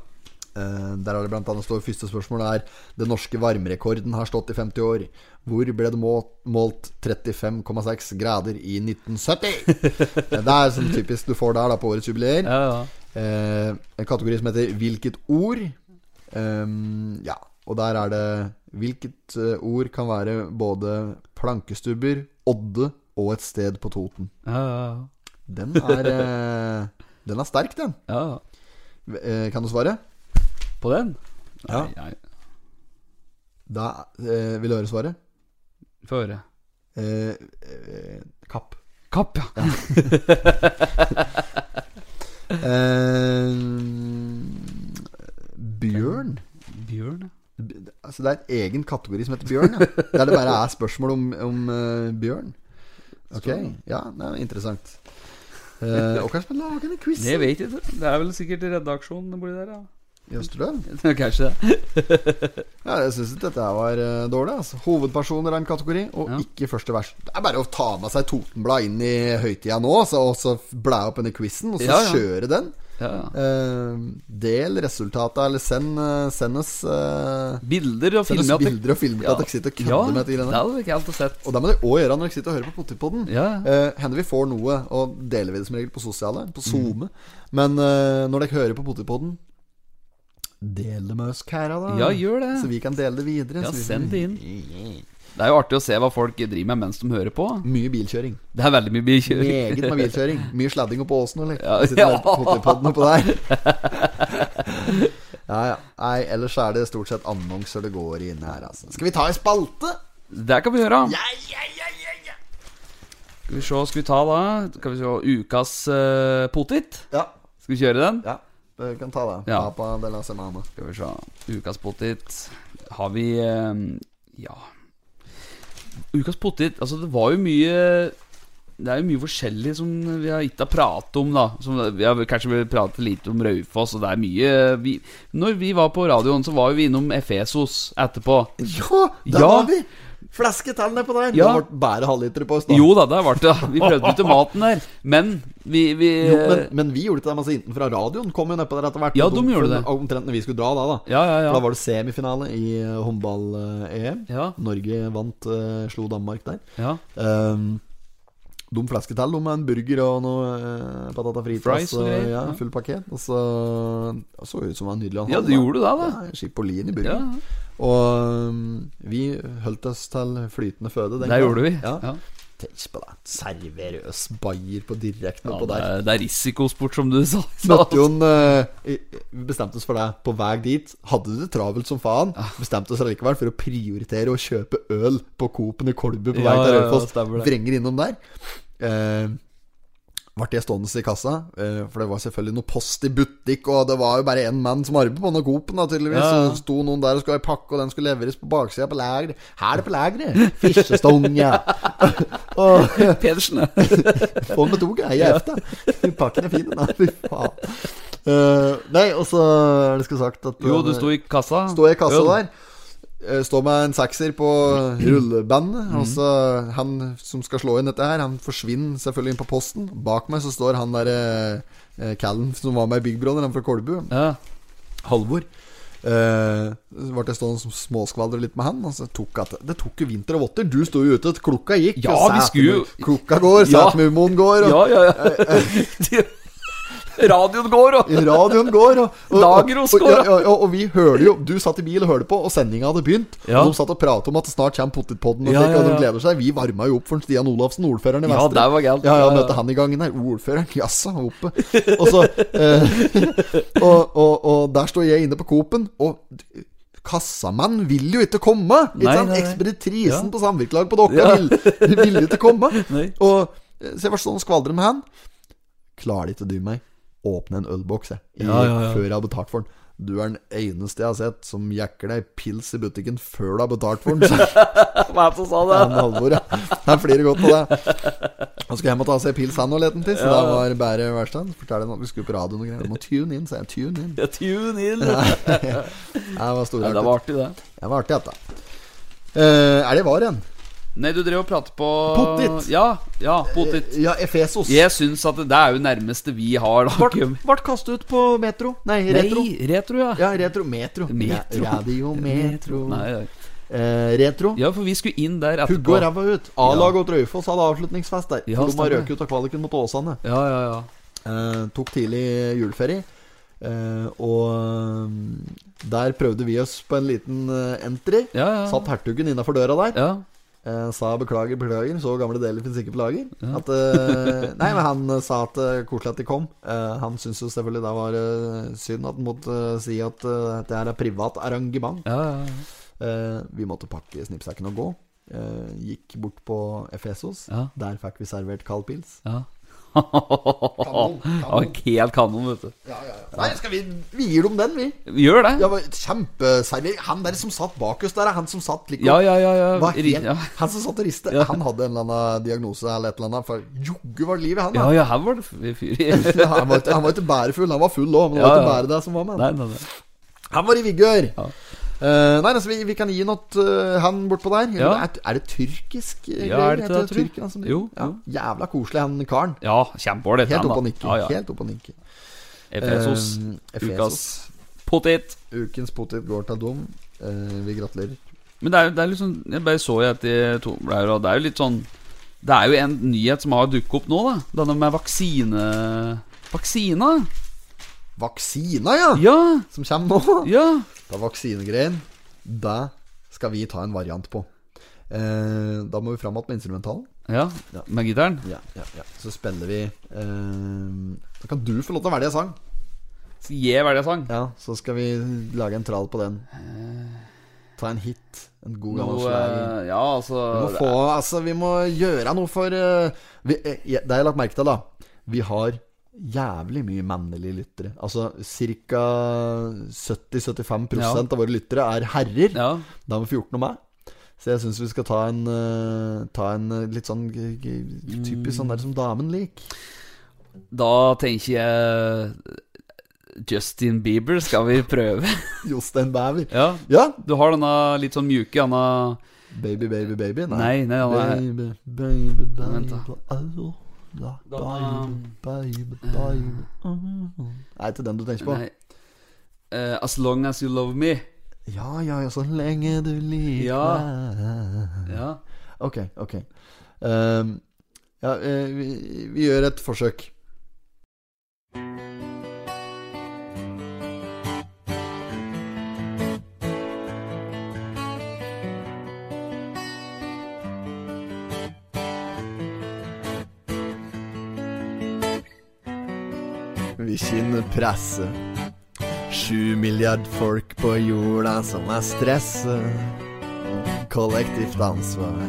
Eh, der er det blant annet står første spørsmål er Den norske varmerekorden har stått i 50 år. Hvor ble det målt, målt 35,6 grader i 1970? Eh, det er sånn typisk du får der da på årets jubileer.
ja, ja.
Eh, en kategori som heter 'Hvilket ord'. Ehm, ja, og der er det Hvilket eh, ord kan være både plankestubber, odde og et sted på Toten?
Ja, ja, ja.
Den er, eh, den er sterk, den.
ja, ja.
Eh, kan du svare?
På den?
Ja.
Nei, nei.
Da eh, vil du høre svaret.
Få høre.
Eh, eh, kapp.
Kapp, ja.
Eh, bjørn?
Bjørn, ja.
B- Altså Det er en egen kategori som heter bjørn. Ja. Der det bare er spørsmål om, om eh, bjørn. Ok, ja, det er interessant. Eh, og kanskje man lager en quiz
Det vet jeg ikke. Det er vel sikkert redaksjonen borti der, ja.
i Østerdøl?
Kanskje (laughs) det.
Ja, jeg syns ikke dette her var eh, dårlig. Altså. Hovedpersoner er en kategori, og
Ja.
ikke første vers. Det er bare å ta med seg Totenblad inn i høytida nå, så, og så blæ opp denne quizen, og så
Ja, ja.
kjøre den.
Ja, ja.
Eh, del resultatet, eller send, eh, send oss eh,
Bilder og
Send oss
filmer.
bilder og filmer til at dere sitter og kødder med dette greiene.
Ja, det hadde vi ikke helt sett.
Og det må dere òg gjøre når dere sitter og hører på Potipodden.
Ja, ja.
Eh, hender vi får noe, og deler vi det som regel på sosiale,
Mm.
på SoMe. Men eh, når dere hører på Potipodden, del det med oss kæra, da.
Ja, gjør det.
Så vi kan dele det videre.
Ja,
så vi-
send det inn. Det er jo artig å se hva folk driver med mens de hører på.
Mye bilkjøring.
Det er veldig mye bilkjøring.
Meget med bilkjøring. Mye sladding oppå åsen og lekt.
Ja,
Sitter
(laughs) ja.
med potipodden oppå der. (laughs) Ja, ja. Nei, ellers er det stort sett annonser det går i inne her, altså. Skal vi ta en spalte?
Det kan vi gjøre.
Ja, ja, ja, ja, ja.
Skal vi se, skal vi ta da Skal vi se ukas eh, potet?
Ja,
Skal vi kjøre den?
ja. Du kan ta det.
Ja.
Papa de la semana.
Skal vi se Ukas potet Har vi eh, Ja Ukas potet Altså det var jo mye Det er jo mye forskjellig som vi har ikke har pratet om da som Vi har kanskje vi pratet lite om Raufoss Og det er mye vi, Når vi var på radioen så var jo vi innom Efesos etterpå
Ja, der
Ja.
var vi! Flasketallene på der.
Ja.
Det ble bare halvlitere på oss da.
Jo da, der ble det da Vi prøvde ut maten der Men vi, vi
Jo, men, men vi gjorde ikke det. Altså, innenfra radioen kom jo nedpå der etter hvert.
eh, Ja,
Og
de gjorde det.
Omtrent når vi skulle dra da, da.
Ja, ja,
For Da
ja
var det semifinale i eh, håndball-EM.
Ja,
Norge vant, eh, slo Danmark der.
ja
Um, de flasketall om en burger og noe uh, patata fritas.
Fries og greier,
ja,
ja.
full pakket. Og så det så ut som en nydelig
Ja, det gjorde du da, da.
Skipolin i
Ja,
burger. Og um, vi holdt oss til flytende føde. den
der
kvelden.
gjorde vi
Ja.
Ja,
Tenk på det. Seriøs bayer på direkten
Ja,
oppå
det,
der.
er, det er risikosport, som du sa.
(laughs) Møtte jo en eh, i- Vi bestemte oss for det på vei dit. Hadde det travelt som faen.
Ah.
Bestemte oss allikevel for å prioritere å kjøpe øl på Coop-en i Kolbu på vei
Ja,
til
ja, ja,
Raufoss.
stemmer det.
Vrenger innom der. Eh, ble jeg stående i kassa, eh, for det var selvfølgelig noe post i butikk, og det var jo bare én mann som arbeidet på denne Coop-en, da, tydeligvis.
Ja, ja.
Så sto noen der og skulle ha en pakke, og den skulle leveres på baksida på lageret. Her er det på lageret! Fiskestonge!
(laughs)
(laughs) og
Pedersen,
få med toget, jeg er efter. Pakken er fin, den er. Fy faen. Eh, nei, og så er det skulle sagt at
(laughs) Jo, du sto i kassa.
Stå i kassa
Øl.
der. eh, Stå med en sekser på rullebandet. Og
Mhm.
så Han som skal slå inn dette her, han forsvinner selvfølgelig inn på posten. Bak meg så står han derre eh, Callen som var med i Big Brother, han fra Kolbu.
Ja.
Halvor. Eh, så ble jeg stående som småskvaldre litt med han. Og så tok at, det tok jo vinter og votter. Du sto jo ute, klokka gikk.
Ja,
og
vi
sæt-
skulle jo-
Klokka går,
Ja.
Sætmumoen går, og
Ja, ja,
Eh,
ja. (laughs) Radioen går, og
Radioen går, og, og,
Dagros går,
og, ja, ja, og, og vi hører jo Du satt i bil og hørte på, og sendinga hadde begynt.
Ja.
Og de satt og pratet om at det snart kommer Pottitpodden, og,
Ja,
slik, og
ja,
de
ja.
gleder seg. Vi varma jo opp for Stian Olafsen, ordføreren i
Ja,
Vestre.
det var galt.
Ja, ja,
Ja, ja.
møtte han i gangen her. Ordføreren, (laughs) jaså, han var oppe. Og så eh, (laughs) og, og, og der står jeg inne på Coop-en, og Kassamann vil jo ikke komme! Ikke
Nei,
sant?
nei, nei.
Ekspeditrisen
Ja.
på samvirkelaget på Dokka
Ja.
vil, vil ikke komme.
(laughs) Nei.
Og, eh, så jeg var sånn og skvaldret med han klarer de ikke å dy meg. Åpne en ølboks jeg, i,
Ja, ja, ja.
før jeg har betalt for den. Du er den eneste jeg har sett som jekker deg pils i butikken før du har betalt
(laughs)
for den. sa
hva er det som sa det?
han Halvor, ja. Han flirer godt på det. Han skulle hjem og ta seg pils han og leten til, så det var bare verkstedet. Forteller han at vi skulle på radioen og greier. Du må tune inn, sa jeg. Tune
(laughs)
inn.
Ja, tune in.
Det var
Ja, det var
storartet.
artig, det.
Det var artig, dette. Eh, er det var igjen?
Nei, du drev og pratet på
Potet.
Ja, ja, potet.
Eh, Ja, Efesos.
Jeg syns at det, det er jo nærmeste vi har, da.
Vart, vart kastet ut på Metro. Nei, Retro.
Nei, retro, ja.
Ja, Retro. Metro.
Metro.
Ja, radio Metro.
Nei, ja.
Eh, retro.
ja, for vi skulle inn der
Hugge og
etterpå.
ræva ut. A-laget og Trøyfoss hadde avslutningsfest der. for de
Ja,
har
stemmer.
røket ut av kvaliken mot Åsane.
Ja, ja, ja.
Eh, tok tidlig juleferie. Eh, og mm, der prøvde vi oss på en liten eh, entry.
Ja, ja.
Satt hertugen innafor døra der.
ja.
Eh, sa 'beklager, beklager', så gamle deler finnes ikke på lager. At, eh, nei, men han eh, sa at eh, koselig at de kom. Eh, han syntes jo selvfølgelig det var eh, synd at han måtte eh, si at eh, dette her er privat arrangement.
ja, ja, ja.
Eh, vi måtte pakke snippsekken og gå. Eh, gikk bort på Efesos.
Ja.
Der fikk vi servert kald pils.
Ja.
Kanon,
(laughs) Ja,
kanon.
Helt kanon, vet du.
Ja, ja, ja. Nei, skal vi, vi gir dem den, vi.
Gjør det.
Ja, men Kjempeservering. Han der som satt bak oss der, han som satt like
Ja, ja, ja. ja.
Var
Ri-
helt,
ja.
Han som satt og riste,
Ja.
han hadde en eller annen diagnose eller et eller annet. For joggu var livet, han.
ja,
da.
ja, her var det f- fyr
(laughs)
i. Nei,
Ja, han, var ikke, han var ikke bærefull, han var full òg, men det var
Ja,
ikke
ja.
bare det som var med.
nei, nei.
Han var i vigør.
Ja.
Eh, nei, altså, vi, vi kan gi noe uh, han bortpå der.
Ja.
Er, er det tyrkisk? eh,
Ja,
greier?
er det ikke
Heter
det, tror du?
tyrk, altså?
Jo,
ja. Jævla koselig, han karen.
Ja, kjempeålreit.
Helt
den,
opp og
da.
nikke.
Ja, ja.
Helt opp og nikke.
Efesos.
Eh,
Ukas
Efesos.
potet.
Ukens potet går til dom. Eh, vi gratulerer.
Men det er, det er litt sånn Jeg bare så jeg etter to blader, og det er jo litt sånn Det er jo en nyhet som har dukket opp nå, da. Denne med vaksine... Vaksina?
Vaksina, ja!
Ja,
Som kommer nå.
ja.
Da vaksinegreien, det skal vi ta en variant på. Eh, da må vi fram igjen med instrumentalen.
Ja, med gitaren.
Ja, ja, ja. Så spiller vi eh, Da kan du få lov til å velge en sang.
Skal jeg velge sang?
Ja, så skal vi lage en trall på den. Ta en hit. En god gammel
Noe
slager.
Ja, altså
Vi må få Altså, vi må gjøre noe for eh, vi, eh, jeg- Det har jeg lagt merke til, da. Vi har jævlig mye mannlige lyttere. Altså ca. 70-75
Ja.
av våre lyttere er herrer.
Ja.
Da er vi 14 og meg. Så jeg syns vi skal ta en, eh, ta en eh, litt sånn g- g- typisk sånn der som damen liker.
Da tenker jeg Justin Bieber skal vi prøve.
Jostein Bæver.
(laughs) ja.
Ja.
Du har denne litt sånn mjuke, denne
Baby, baby, baby.
Nei, nei, nei.
Baby, baby,
Vent
baby
da.
Au, da,
Da- Eh.
Baby, baby, baby uh, au. Er det den du tenker på?
Nei. Eh, as long as you love me.
Ja, ja, ja, så lenge du liker
Ja.
meg.
Ja.
Ok, ok. Ehm, ja, eh, vi, vi gjør et forsøk.
Hvilken presse. Sju milliard folk på jorda som er stresset. Kollektivt ansvar.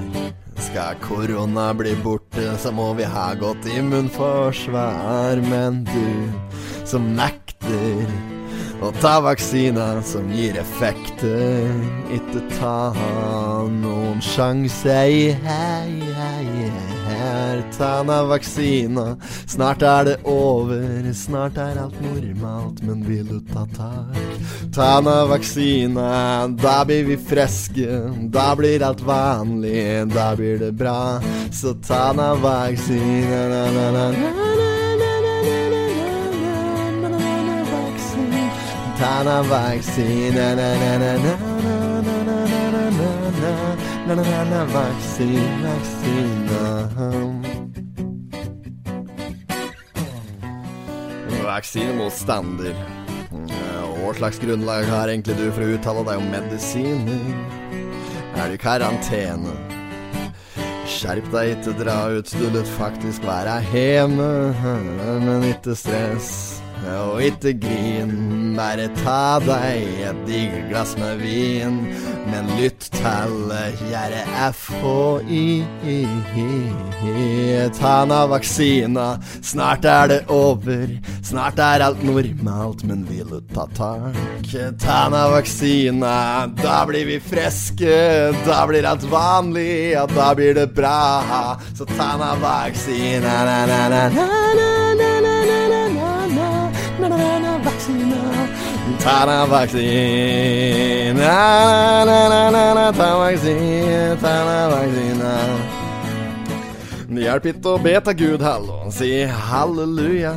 Skal korona bli borte, så må vi ha godt immunforsvar. Men du som nekter å ta vaksina som gir effekter, ikke ta noen sjanse. Hei, hei, her, ta na vaksina. Snart er det over, snart er alt normalt, men vil du ta tak? Ta na vaksina, da blir vi friske, da blir alt vanlig, da blir det bra. Så ta na vaksina, na, na, na, na, na, na, na, na, na, na, na, na, vaksina. Ta na vaksina, na, na, na, na, na, na, na, na, na, na, na, na, na, um. na, vaksin, vaksina. Vaksinemotstander. Mm, Hva slags grunnlag har egentlig du for å uttale deg om medisiner? Er du i karantene? Skjerp deg ikke, dra ut, du løt faktisk være hjemme. Men ikke stress, og ikke grin. Bare ta deg et digert glass med vin. Men lytt til Gjerdet FHI. Ta na vaksina, snart er det over. Snart er alt normalt, men vil du ta tak? Ta na vaksina, da blir vi friske. Da blir alt vanlig, ja, da blir det bra. Så ta na vaksina, na-na-na-na-na-na-na-na-na-na. Na-na-na-na-vaksina. Ta-da-vaksina. Na-na-na-na-na, ta-vaksina, ta-da-vaksina. Det hjelper ikke å be til Gud hallo, si halleluja.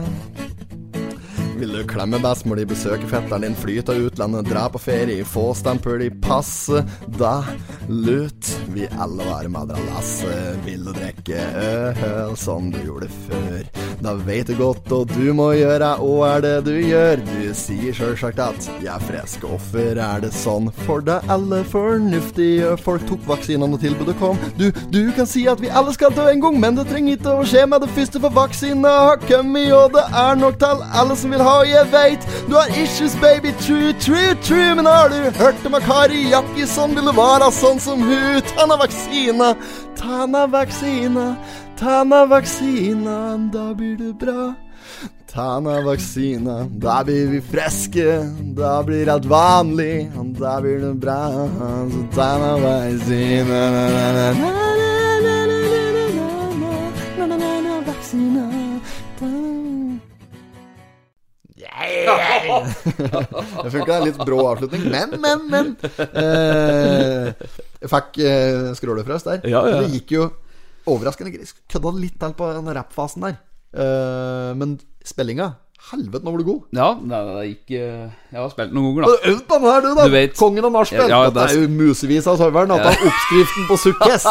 Vil du klemme bestemor di, besøke fetteren din, fly til utlandet, dra på ferie, få stempel i passet? Da lut vi alle være med dra lasset. Vil du drikke øl som du gjorde før? Da veit du godt hva du må gjøre, hva er det du gjør? Du sier sjølsagt at 'jeg er frisk', hvorfor er det sånn? For da alle fornuftige folk tok vaksinene og tilbudet kom. Du, du kan si at vi alle skal dø en gang, men det trenger ikke å skje med det første, for vaksina har kommet, og det er nok til alle som vil ha, jeg veit. Du har issues, baby, true, true, true, men har du hørt om at Kari Jakkison ville være sånn som hun? Tanna vaksina, tanna vaksina, tanna vaksina, da blir det bra. Tanna vaksina, da blir vi friske, da blir alt vanlig, da blir det bra. Så tanna vaksina, na, na, na, na, na, na, na, na, na, na, na, na, vaksina. Ta-na. Jeg følte det er en litt brå avslutning, men, men, men. Eh, jeg fikk eh, skrålefrøs der.
Ja, ja.
Det gikk jo overraskende greit. Kødda litt til på den rappfasen der. Eh, men spillinga Helvete, nå var du god.
Ja, nei, det gikk eh, Jeg har spilt noen ganger,
Har
da.
du øvd på den her, du, da?
Du vet-
Kongen av nachspiel.
Ja, ja,
Dette
det
er
er-
jo musevis av serveren. At det er oppskriften på sukkes.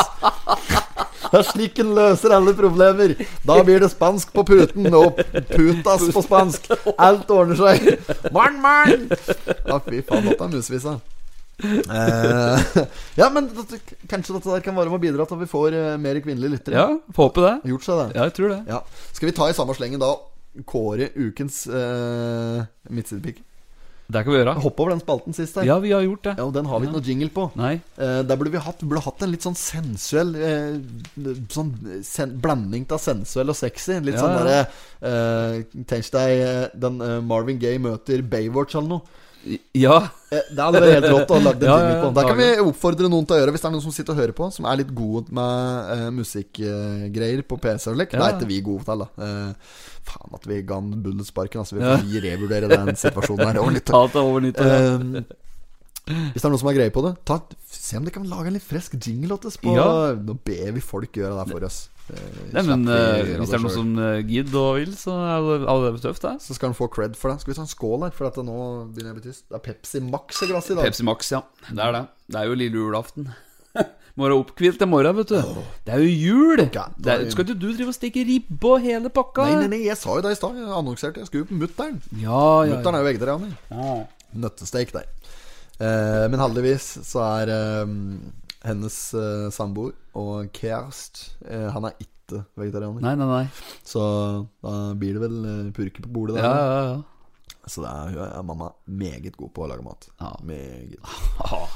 Det er slik en løser alle problemer. Da blir det spansk på puten, og putas på spansk. Alt ordner seg. Morn, morn! Ja, fy faen, dette er musevis av. Eh, ja, men dette, kanskje dette der kan være med å bidra til at vi får eh, mer kvinnelige lyttere.
Ja, får håpe det.
Har Gjort seg det.
Ja, jeg tror det.
Ja. Skal vi ta i samme slengen da kåre ukens uh, midtsidepick?
Det kan vi gjøre.
Hopp over den spalten sist der.
Ja, vi har gjort det.
Ja, og den har vi ikke noe jingle på.
Nei.
Eh, der burde vi hatt, burde hatt en litt sånn sensuell eh, Sånn sen, blanding av sensuell og sexy. Litt
Ja,
sånn
ja.
derre eh, Tenk deg eh, den eh, Marvin Gaye møter Baywatch eller noe.
Ja.
Eh, det hadde vært helt rått å lage
(laughs)
en
Ja, ja,
jingle
ja,
på. Der kan vi
lage
oppfordre noen til å gjøre hvis det er noen som sitter og hører på, som er litt gode med eh, musikkgreier på PC og slik. Det
Ja.
er ikke vi gode til, da. Eh, faen at vi ga han bulletsparken. Altså, vi får revurdere den situasjonen her. Det var
(laughs)
litt
Ta det over nyttår. Ja.
Ehm, hvis det er noen som har greie på det, ta, se om de kan lage en litt frisk jingle åt oss. På,
Ja.
Nå ber vi folk gjøre det her for oss. Eh,
Nei, men
slipper
eh,
vi å gjøre
hvis det er noen
selv.
som eh, gidder og vil, så er det allerede tøft, det.
Så skal han få cred for det. Skal vi ta en skål her? For at det nå begynner jeg å bli tyst. Det er Pepsi Max i glasset i dag.
Pepsi Max, ja. Det er det. Det er jo lille julaften. (laughs) Må være oppkvilt til morgen, vet du. Det er jo jul!
God
Det er, skal ikke du drive og stikke ribbe og hele pakka?
Nei, nei, nei, jeg sa jo det i stad. Jeg annonserte. Jeg skulle jo på mutter'n.
Ja, ja,
Mutter'n er jo vegetarianer.
ja.
Nøttesteik der. Eh, men heldigvis ehm, så er eh, hennes eh, samboer og kjæreste eh, Han er ikke
ekte vegetarianer.
Nei, nei, nei.
Så da blir det vel eh, purke på bordet
Ja,
der.
ja, ja.
Så det er, hun er mamma meget god på å lage mat.
Ja.
(laughs) Meget.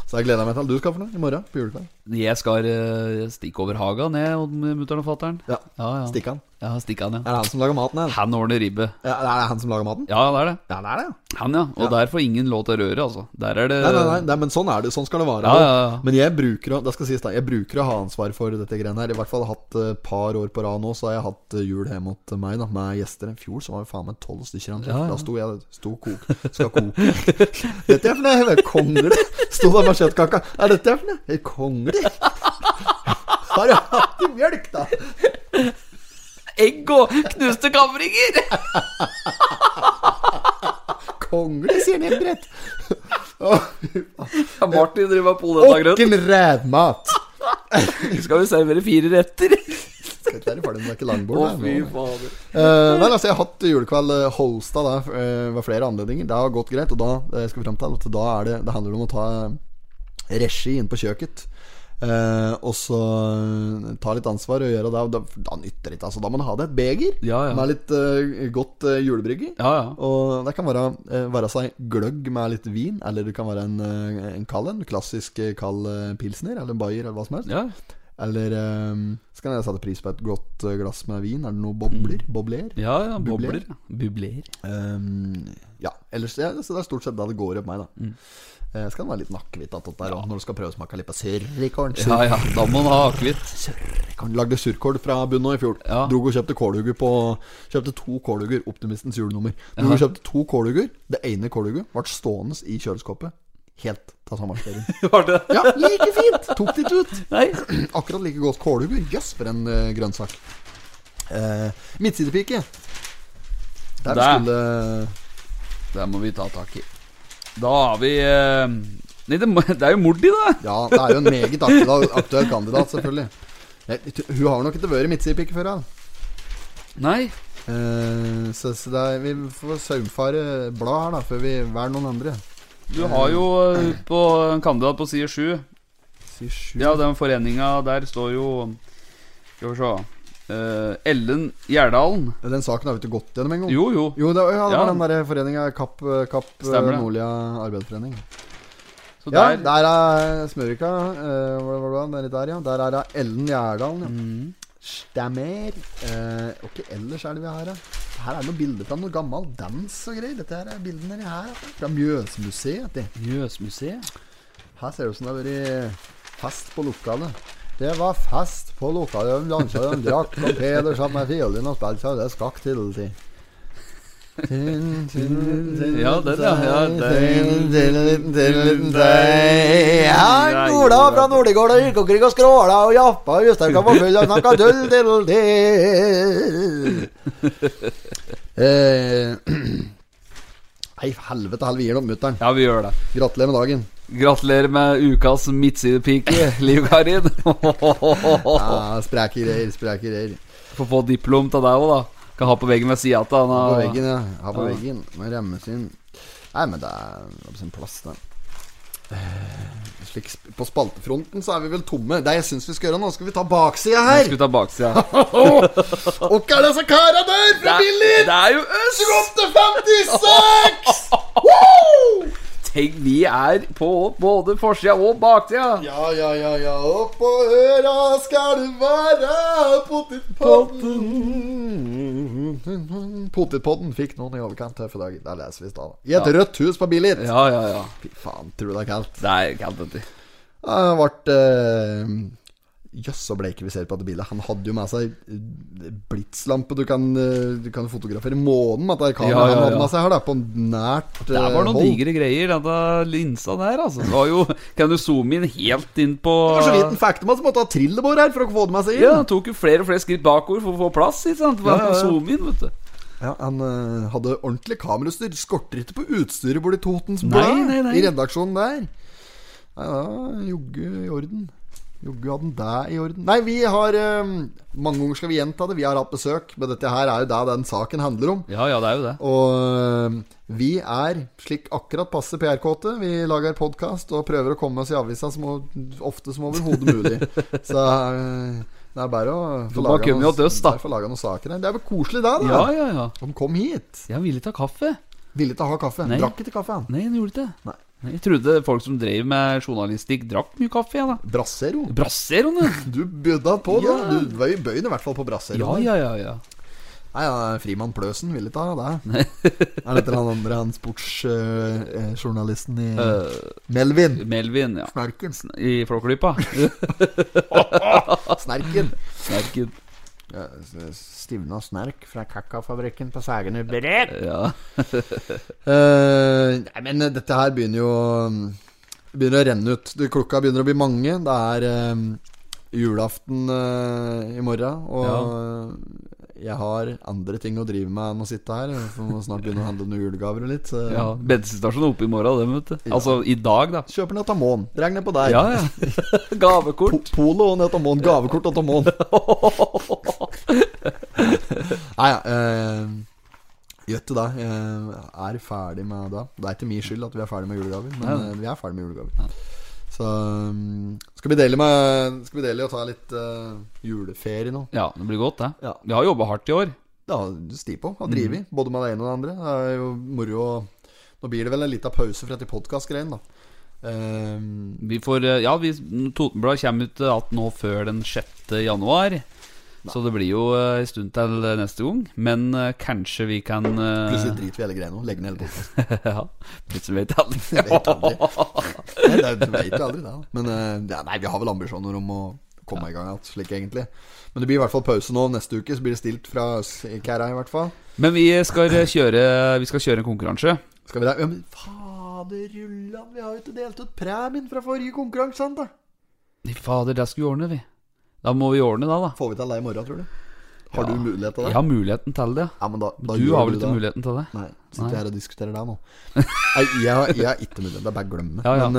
Så jeg gleder meg til alt du skal for noe i morgen på julekveld.
Jeg skal eh, stikke over haga ned hos mutter'n og fatter'n.
Ja.
Ja, ja.
Stikk han.
Ja, stikke han, ja.
Er det han som lager maten her?
Han ordner ribbe.
Ja, er det han som lager maten?
Ja, det er det.
Ja, det er det. ja.
Han, ja. Og der får ingen lov til å røre, altså. Der er det
Nei, nei, nei, nei, men sånn er det. Sånn skal det være.
Ja, ja, ja.
Men jeg bruker, å- det skal sies da, jeg bruker å ha ansvar for dette greiene her. I hvert fall hatt et par år på rad nå, så har jeg hatt eh, jul hjemme hos meg da, med gjester. I fjor så var det faen meg tolv stykker. han traff.
Ja, ja.
Da sto jeg sto og kok, skal koke. (laughs) dette er for noe hele kongler. Sto der med kjøttkaka. Er dette er for noe helt kongler? (laughs) Har jeg hatt i mjølk, da?
Egg og knuste kamringer!
Kongler, sier Nembrett.
Ja, Martin driver med polentagrøt.
Åkken rævmat.
Skal vi servere fire retter?
Dette er for dem som er ikke langbord.
Å,
da.
fy fader.
Eh, nei, altså, jeg har hatt julekveld eh, Holstad der eh, ved flere anledninger. Det har gått greit. Og da eh, skal vi frem til at da er det, det handler om å ta eh, regi inn på kjøkkenet. Eh, og så eh, ta litt ansvar og gjøre det. Og da, da nytter det ikke. Altså, da må man ha det et beger
Ja, ja.
med litt eh, godt eh, julebrygg i.
Ja, ja.
Og det kan være, eh, være seg gløgg med litt vin, eller det kan være en, eh, en kald en. Klassisk eh, kald eh, pilsner, eller en bayer, eller hva som helst.
Ja,
Eller ehm, så kan jeg sette pris på et godt eh, glass med vin. Er det noe bobler?
Mm.
Bobler?
ja, ja bobler.
Bubler.
ja. Bubler.
Ehm, ja. Ellers ja, så det er stort sett det det går i på meg, da.
Mm.
Eh, så kan det være litt nakkevitt attåt der også, når du skal prøve å smake litt på surrikål.
Ja, ja. Da må man ha akevitt.
Surrikål. Lagde surkål fra bunnen av i fjor.
Ja.
Drog og kjøpte kålhugger på Kjøpte to kålhugger. Optimistens julenummer. Drog og kjøpte to kålhugger. Det ene kålhugget ble stående i kjøleskapet helt til
(laughs)
sommerferien.
Var (laughs) det
ja, like fint! Tok det ikke ut. (clears throat)
Nei.
Akkurat like godt kålhugger. Jøss, for en eh, grønnsak. Eh, midtsidepike. Der,
Der.
skulle
Det må vi ta tak i. Da har vi eh, Nei, det, må- (laughs) det er jo Mordi, da.
Ja, det er jo en meget aktuell, aktuell kandidat, selvfølgelig. Jeg, t- hun har nok ikke vært midtsidepike før. Ja.
Nei.
Eh, så så det er, vi får saumfare blad her, da, før vi velger noen andre.
Du har jo eh, på en kandidat på side sju
Si sju.
Ja, den foreninga der står jo Skal vi se eh, Ellen Gjerdalen.
Den saken har vi ikke gått gjennom engang.
Jo, jo.
Jo, det, ja, det var
Ja.
den der foreninga Kapp, eh, Kapp
Stemmer det.
Nordlia Arbeiderforening.
Så
Ja,
der,
der er Smørika. eh, hva- hva- hva- nedi der, ja. Der er det Ellen Gjerdalen, ja.
Mm.
Stemmer. Eh, og ikke ellers er det vi har her. Her er noen bilder fra noe gammel dans og greier. Dette her er bildene de her. vet du. Fra Mjøsmuseet. vet du.
Mjøsmuseet.
Her ser det ut som det har vært fest på lokalet. Det var fest på lokalet. De dansa, de drakk, og Peder satt med fiolin og spilte, så det skakk til tid.
Ja, den, ja. Ja, den.
Ja, Ola fra Nordligård og yrkokrig og skråla og jappa og Jostauka var full og snakka tull til det. Eh, (clears throat) Hei, helvete, helvete, vi gir det opp mutter'n.
ja, vi gjør det.
Gratulerer med dagen.
Gratulerer med ukas midtsidepike, (laughs) Liv Karin.
Ja, spreke greier, spreke greier.
Få få diplom av deg òg, da. Kan ha på veggen ved sida av
Ha på
han. da.
veggen, ja. Ha på
Ja.
veggen. Må remmes inn. Nei, men det er det er på sin plass, det. Eh, Slik, sp- på spaltefronten så er vi vel tomme. Det jeg syns vi skal gjøre nå, skal vi ta baksida
Nå
her.
Skal vi ta (laughs) baksida?
Og hva er det så kara der fra
Det
Billir?
er jo øst!
58,56!
Tenk, vi er på både forsida og baksida.
Ja, ja, ja, ja, oppå øra skal det være potetpodden. Potetpodden fikk noen i overkant tøffe dager. Der leser vi i stad. I et rødt hus på Billit.
Ja, ja, ja.
Fy faen, tror du det er kaldt?
Det er kaldt, vet du.
Ja, Det ble eh, Jøss, så bleike vi ser på dette bildet. Han hadde jo med seg eh, blitslampe. Du kan, eh, du kan fotografere månen med dette kameraet
Ja, ja,
han hadde
ja.
med seg her, da, på nært
Det
eh,
var noen
hold.
digre greier, denne linsa der, altså. Det var jo, kan du zoome inn helt inn på
Det var så vidt en fact om at han måtte ha trillebår her for å få det med seg inn.
Ja, han tok jo flere og flere skritt bakover for å få plass, ikke sant.
Ja, ja, ja.
Zoome inn, vet du.
Ja, han eh, hadde ordentlig kamerautstyr. Skorter ikke på utstyret borti Totens
Nei,
Blad
nei, nei.
i redaksjonen der. Nei, da jogge i orden. Jogge hadde han deg i orden. Nei, vi har eh, Mange ganger skal vi gjenta det. Vi har hatt besøk, men dette her er jo det den saken handler om.
Ja, ja, det er jo det.
Og øhm, vi er slik akkurat passe PR-kåte. Vi lager
(laughs)
podkast og prøver å komme oss i avisa som o- ofte som overhodet mulig. Så øh, Det er bare å få
De har
laga
kommet
noen-
til oss, da.
bare få laga noen saker her. Det er vel koselig, det, da.
Ja, ja, ja.
Han kom hit.
Jeg ville ta kaffe.
Ville ikke ha kaffe.
Nei.
Drakk ikke kaffe, han.
Nei, han gjorde ikke det.
Nei.
Nei, Jeg trodde folk som drev med journalistikk, drakk mye kaffe. Ja, da.
Brassero.
Brasseroene!
Du bødda på, da.
Ja.
Du var i bøyen i hvert fall på brassero.
Ja, ja, ja. ja.
Nei, ja, Frimann Pløsen ville ikke
(laughs)
ha det. Er dette han andre, han sportsjournalisten i Mm.
Eh,
Melvin?
Melvin, ja.
Snerken.
I Flåklypa.
Snerken.
(laughs) Snerken.
Ja, s- Stivna snerk.
Fra kakafabrikken på Sagene Bred.
Ja.
Eh, nei, men eh, dette her begynner jo mm, Begynner å renne ut. Du, klokka begynner å bli mange. Det er eh, julaften eh, i morgen. Og eh, jeg har andre ting å drive med enn å sitte her. For må snart begynne å handle noen julegaver og litt. Så
ja. Bensinstasjon oppe i morgen, dem, vet du. Altså i dag, da.
kjøper ned Tamon. Drar ned på deg.
Ja, ja.
(laughs) Po
Gavekort.
polo og ned Tamon. Gavekort og Tamon. (laughs) Nei, ja. Eh, Gjør ikke det. Jeg er ferdig med det. Det er ikke min skyld at vi er ferdig med julegaver, men
Nei.
eh, vi er ferdig med julegaver. Så um, skal vi dele med Skal vi dele og ta litt eh, juleferie nå.
Ja, det blir godt, det.
Ja.
Vi har jobba hardt i år.
Det har du sti på. Har drevet både med det ene og det andre. Det er jo moro å Nå blir det vel en liten pause fra de podkastgreiene, da. Eh,
Vi får, eh, ja, vi, Totenblad kommer ut eh, at nå før den 6. januar. Så det blir jo eh, en stund til eh, neste gang. Men eh, kanskje vi kan eh,
plutselig driter vi i hele greia nå. Legger (laughs) ned hele podkasten.
(laughs) ja, Plutselig vet jeg aldri.
Jeg vet aldri. Nei, det er- du vet jo aldri det. da. Men eh, ja, nei, vi har vel ambisjoner om å komme i gang igjen, slik egentlig. Men det blir i hvert fall pause nå. Neste uke så blir det stilt fra oss i Kæra, i hvert fall.
(laughs) Men vi skal eh, kjøre Vi skal kjøre en konkurranse.
Skal vi da ja, men Faderullan, vi har jo ikke delt ut premien fra forrige konkurranse, sant da?
Nei, Fader, det skal vi ordne, vi. Da må vi ordne det, da.
Får vi til det i morgen, tror du? Har du mulighet til det?
Jeg har muligheten til det.
Ja, men da, da
Du
gjør
har vel
det.
ikke muligheten til det?
Nei, sitter
Nei.
her og diskuterer
(laughs)
deg nå. Nei, jeg, har- jeg har ikke mulighet. Det er bare å glemme.
Ja, ja.
Men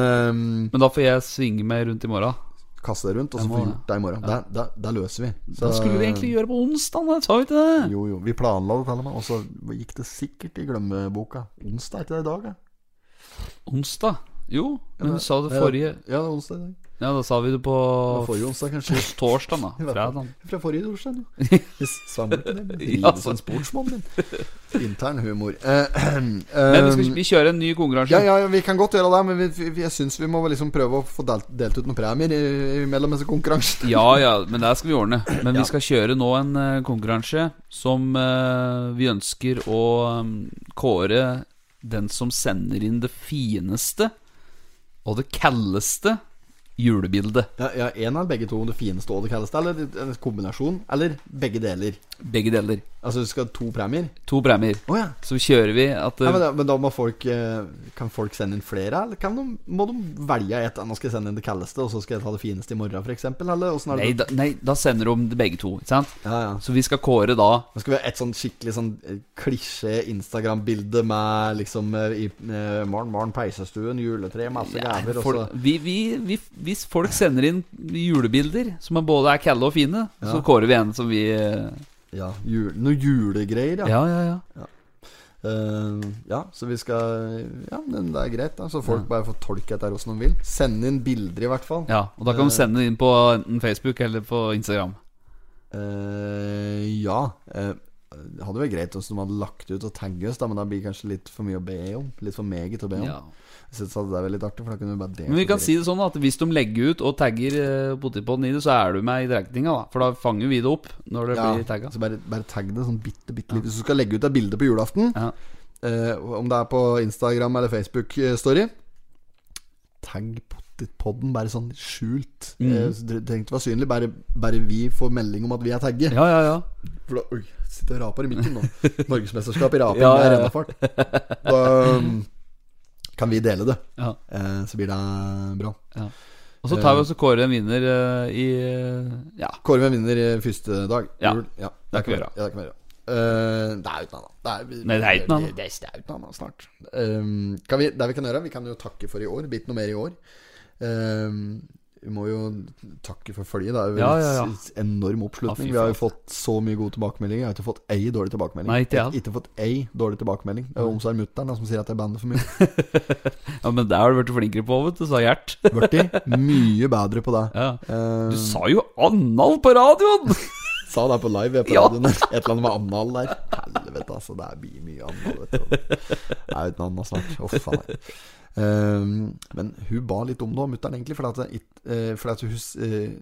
eh,
Men da får jeg svinge meg rundt i morgen.
kaste det rundt, og så
Jeg
få
må det.
gjort det i morgen. Det, det, det løser vi.
Da skulle vi egentlig gjøre på onsdag, da. Sa vi ikke det?
Jo, jo. Vi planla det, til og med. Og så gikk det sikkert i glemmeboka. Onsdag er ikke det i dag, ja?
Onsdag? Jo, men
det-
du sa det
det-
forrige
Ja, det er onsdag i dag.
Ja, da sa vi det på
Det var forrige onsdag, (laughs) kanskje.
torsdag, da.
I hvert fall.
Fredag.
Fra forrige torsdag, (laughs) jo. Vi svamler ikke det. Vi
Ja,
driver som sportsmann (laughs) din. Intern humor. Eh,
Men vi,
ehm,
skal, vi kjører en ny konkurranse.
ja, ja, ja, vi kan godt gjøre det, men vi, vi, jeg syns vi må liksom prøve å få delt, delt ut noen premier i- mellom disse konkurransene.
Ja, ja, men det skal vi ordne. Men vi skal kjøre nå en eh, konkurranse som eh, vi ønsker å eh, kåre den som sender inn det fineste og det kaldeste julebildet.
Ja, ja, en av begge to, det fineste og det kaldeste, eller en kombinasjon, eller begge deler.
Begge deler.
Altså, du skal ha to premier?
To premier.
Å ja.
Så kjører vi at eh,
Nei, men, da, men da må folk eh, Kan folk sende inn flere, eller kan de, må de velge et? Nå skal jeg sende inn det kaldeste, og så skal jeg ta det fineste i morgen, f.eks.? Eller åssen er
nei,
det?
da, nei, da sender de det begge to, ikke sant?
Ja, ja.
Så vi skal kåre da
Nå skal vi ha et sånn skikkelig sånn eh, klisjé Instagram-bilde med liksom eh, i eh, Morgen, morgen, peisestuen, juletre, masse gaver, og så
eh, folk, vi, vi, vi, Hvis folk sender inn julebilder som er både er kalde og fine, så kårer vi en som vi eh,
Ja, jul, noe julegreier, ja.
Ja, ja, ja.
Eh, ja, så vi skal Ja, men det er greit, da. Så folk bare får tolke dette åssen de vil. Send inn bilder, i hvert fall.
Ja, og da kan du sende det inn på enten Facebook eller på Instagram.
Eh, ja. eh, det hadde vært greit om de hadde lagt ut og tagget oss, da, men det blir kanskje litt for mye å be om. Litt for meget å be om.
Ja.
Jeg synes at det er veldig artig, for da kunne vi bare delt
Men vi
det
kan
direkte.
si det sånn at hvis de legger ut og tagger eh, Potipoden i det, så er du med i drektinga, da. For da fanger vi det opp når det blir
ja,
tagga.
så bare, bare tagg det sånn bitte, bitte litt. Hvis du skal legge ut et bilde på julaften,
Ja.
eh, om det er på Instagram eller Facebook-story Tagg Pottitpodden, bare sånn skjult. Mm. trenger ikke være synlig, bare, bare vi får melding om at vi er tagget.
Ja, ja, ja.
For da, oi, sitter og raper i mikken
(laughs)
nå. Norgesmesterskap i raping
Ja,
med
ja, ja.
rennafart. Da um, kan vi dele det,
ja.
eh, så blir det bra.
Og så tar vi også Kåre en vinner eh, i eh, Ja.
Kåre hvem vinner eh, første dag.
Ja.
Jul. ja.
Det kan vi
være.
gjøre.
Ja, det kan vi gjøre. Eh, det er uten annet. Det er,
Nei, det er uten annet.
Det, det er uten annet snart. Eh, Um, kan vi, det vi kan gjøre, vi kan jo takke for i år. Bitt noe mer i år. Um, Vi må jo takke for følget. Det er jo
Ja, ja, ja.
en s- enorm oppslutning.
Ja, fy
vi har jo
faen.
fått så mye god tilbakemelding. Jeg har ikke fått ei dårlig tilbakemelding.
Nei, ikke jeg.
jeg har ikke fått ei dårlig tilbakemelding Det er jo Omsar Mutter'n da, som sier at jeg bander for mye.
Ja, men det har du blitt flinkere på, vet du, sa Gjert. (laughs)
Blitt mye bedre på det.
Ja.
Eh,
Du sa jo anal på radioen!
sa det på live jeg, på
Ja.
radioen. Et eller annet med anal der. Helvete, altså. Det blir mye anal, vet du. Det er jo et annet snart. Å, faen. Ehm, men hun ba litt om det, mutter'n, egentlig. For at, det it- eh, for at hun eh,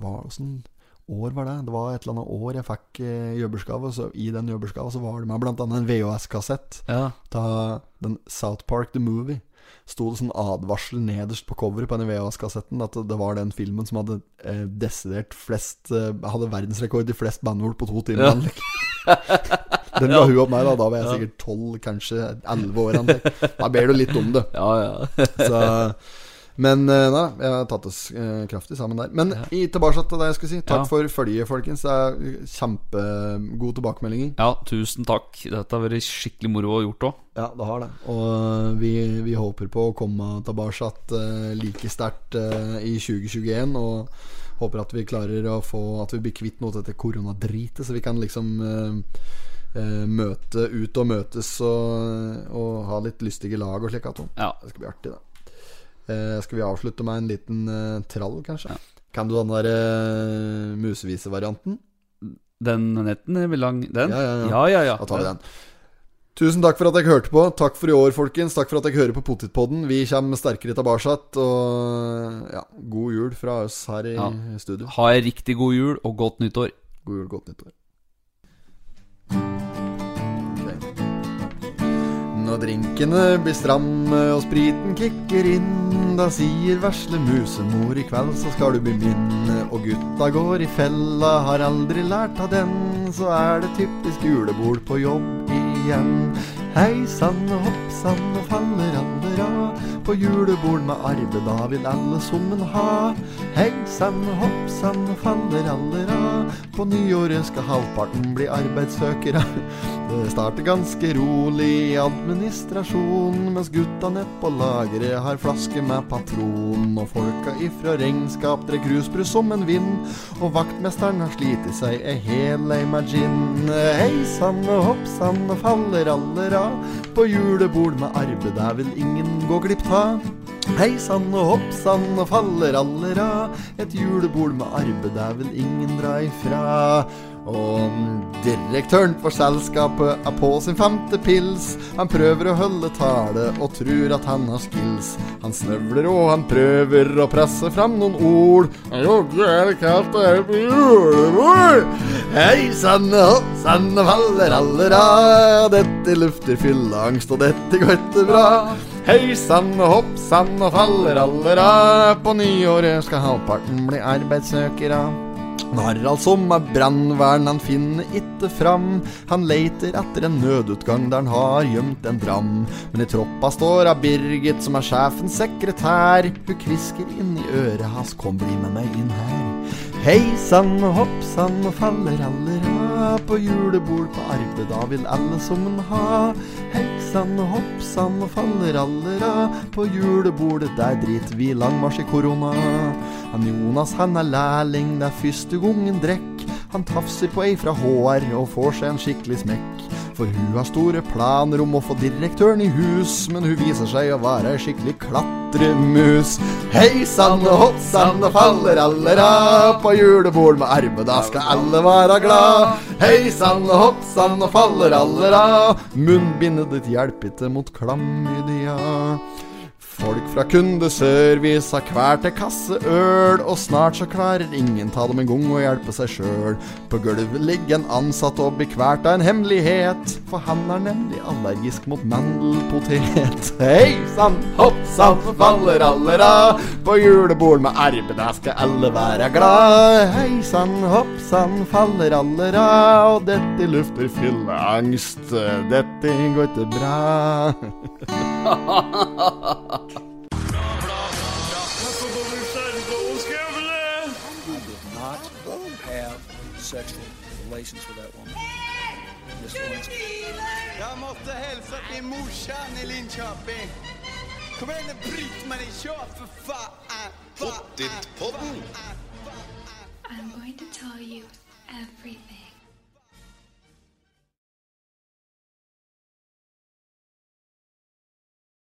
hva, Åssen år var det? Det var et eller annet år jeg fikk eh, jobbersgave, og så i den jobbersgava så var det med blant annet en VHS-kassett
(laughs) Ja.
ta den South Park The Movie. Sto det sånn advarsel nederst på coveret på den VHS-kassetten at det var den filmen som hadde eh, desidert flest eh, Hadde verdensrekord i flest bandord på to timer.
Ja.
anlegg. (laughs) Den la hun opp meg, da. Da var jeg sikkert tolv, kanskje elleve år. anlegg. Da ber du litt om det.
Ja, ja. (laughs)
Så, men eh, nei, jeg har tatt oss eh, kraftig sammen der. Men i, tilbake til det jeg skulle si. Takk
Ja.
for følget, folkens. Det er eh, kjempegode tilbakemeldinger.
ja tusen takk. Dette har vært skikkelig moro å gjort òg.
Ja, det har det. Og vi, vi håper på å komme tilbake eh, like sterkt eh, i 2021. Og håper at vi klarer å få At vi blir kvitt noe av dette koronadritet, så vi kan liksom eh, eh, møte ut og møtes og, og ha litt lystige lag og slik. Atom.
Ja.
Det skal bli artig, det. Eh, skal vi avslutte med en liten eh, trall, kanskje? Kan du den der eh, musevisevarianten?
Den netten er vel lang, den?
Ja, ja, ja.
ja, ja, ja.
Da tar vi den. Tusen takk for at dere hørte på. Takk for i år, folkens. Takk for at dere hører på Potitpodden. Vi kommer sterkere tilbake. Og ja, god jul fra oss her i
Ja.
studio.
Ha ei riktig god jul og godt nyttår.
God jul, godt nyttår. Ok. Når drinkene blir stramme og spriten kicker inn, da sier vesle musemor i kveld så skal du bli min. Og gutta går i fella, har aldri lært av den, så er det typisk julebord på jobb igjen. Hei sann og hopp sann og faller allera, på julebord med arve da vil alle summen ha. Hei sann og hopp sann og faller allera, på nyåret skal halvparten bli arbeidssøkere. Det starter ganske rolig i administrasjon, mens gutta nett på lageret har flaske med patron. Og folka ifra regnskap drekk rusbrus som en vind, og vaktmesteren har slitt i seg ei hel ei med gin. Hei sann og hopp sann og faller aller av, på julebord med arbeid der vil ingen gå glipp av. Hei sann og hopp sann og faller aller av. Et julebord med arbeid der vil ingen dra ifra. Og direktøren for selskapet er på sin femte pils. Han prøver å holde tale og tror at han har skills. Han snøvler og han prøver å presse fram noen ord. Joggu er det kaldt og er på julebord. Hei sann og hopp sann og faller aller av. Dette lufter fylleangst, og dette går ikke bra. Hei sann og hopp sann og faller aller av. På nyåret skal halvparten bli arbeidssøkere. Harald som er brannvern, han finner ikke fram. Han leiter etter en nødutgang der han har gjemt en dram. Men i troppa står av Birgit, som er sjefens sekretær. Hun kvisker inn i øret hans, kom bli med meg inn her. Hei sann og hopp sann og faller aller av. På julebord på arbeid, da vil alle summen ha. Hei sann og hopp sann og faller aller av. På julebordet, der driter vi langmarsj i korona. Han Jonas han er lærling, det er første gongen drekk. Han tafser på ei fra HR og får seg en skikkelig smekk. For hun har store planer om å få direktøren i hus, men hun viser seg å være ei skikkelig klatremus. Hei sann og hopp sann og faller aller av, på julebord med arme, da skal alle være glad. Hei sann og hopp sann og faller aller av, munnbindet ditt hjelper ikke mot klamydia. Folk fra kundeservice har hver til kasse øl, og snart så klarer ingen ta dem en gang å hjelpe seg sjøl. På gulvet ligger en ansatt og blir kvalt av en hemmelighet, for han er nemlig allergisk mot mandelpotet. (laughs) Hei sann, hopp sann, faller aller av, på julebord med arbeid, der skal alle være glad. Hei sann, hopp sann, faller aller av, og dette lufter fylleangst, dette går ikke bra.
You did not have sexual relations with that woman. Miss Lewinsky.
Jag måste hälsa till morsan i Linköping. Kom igjen, nå bryt meg ned, kjør for faen! Fa-
Pottit-podden.
fa- fa-
I'm going to tell you everything.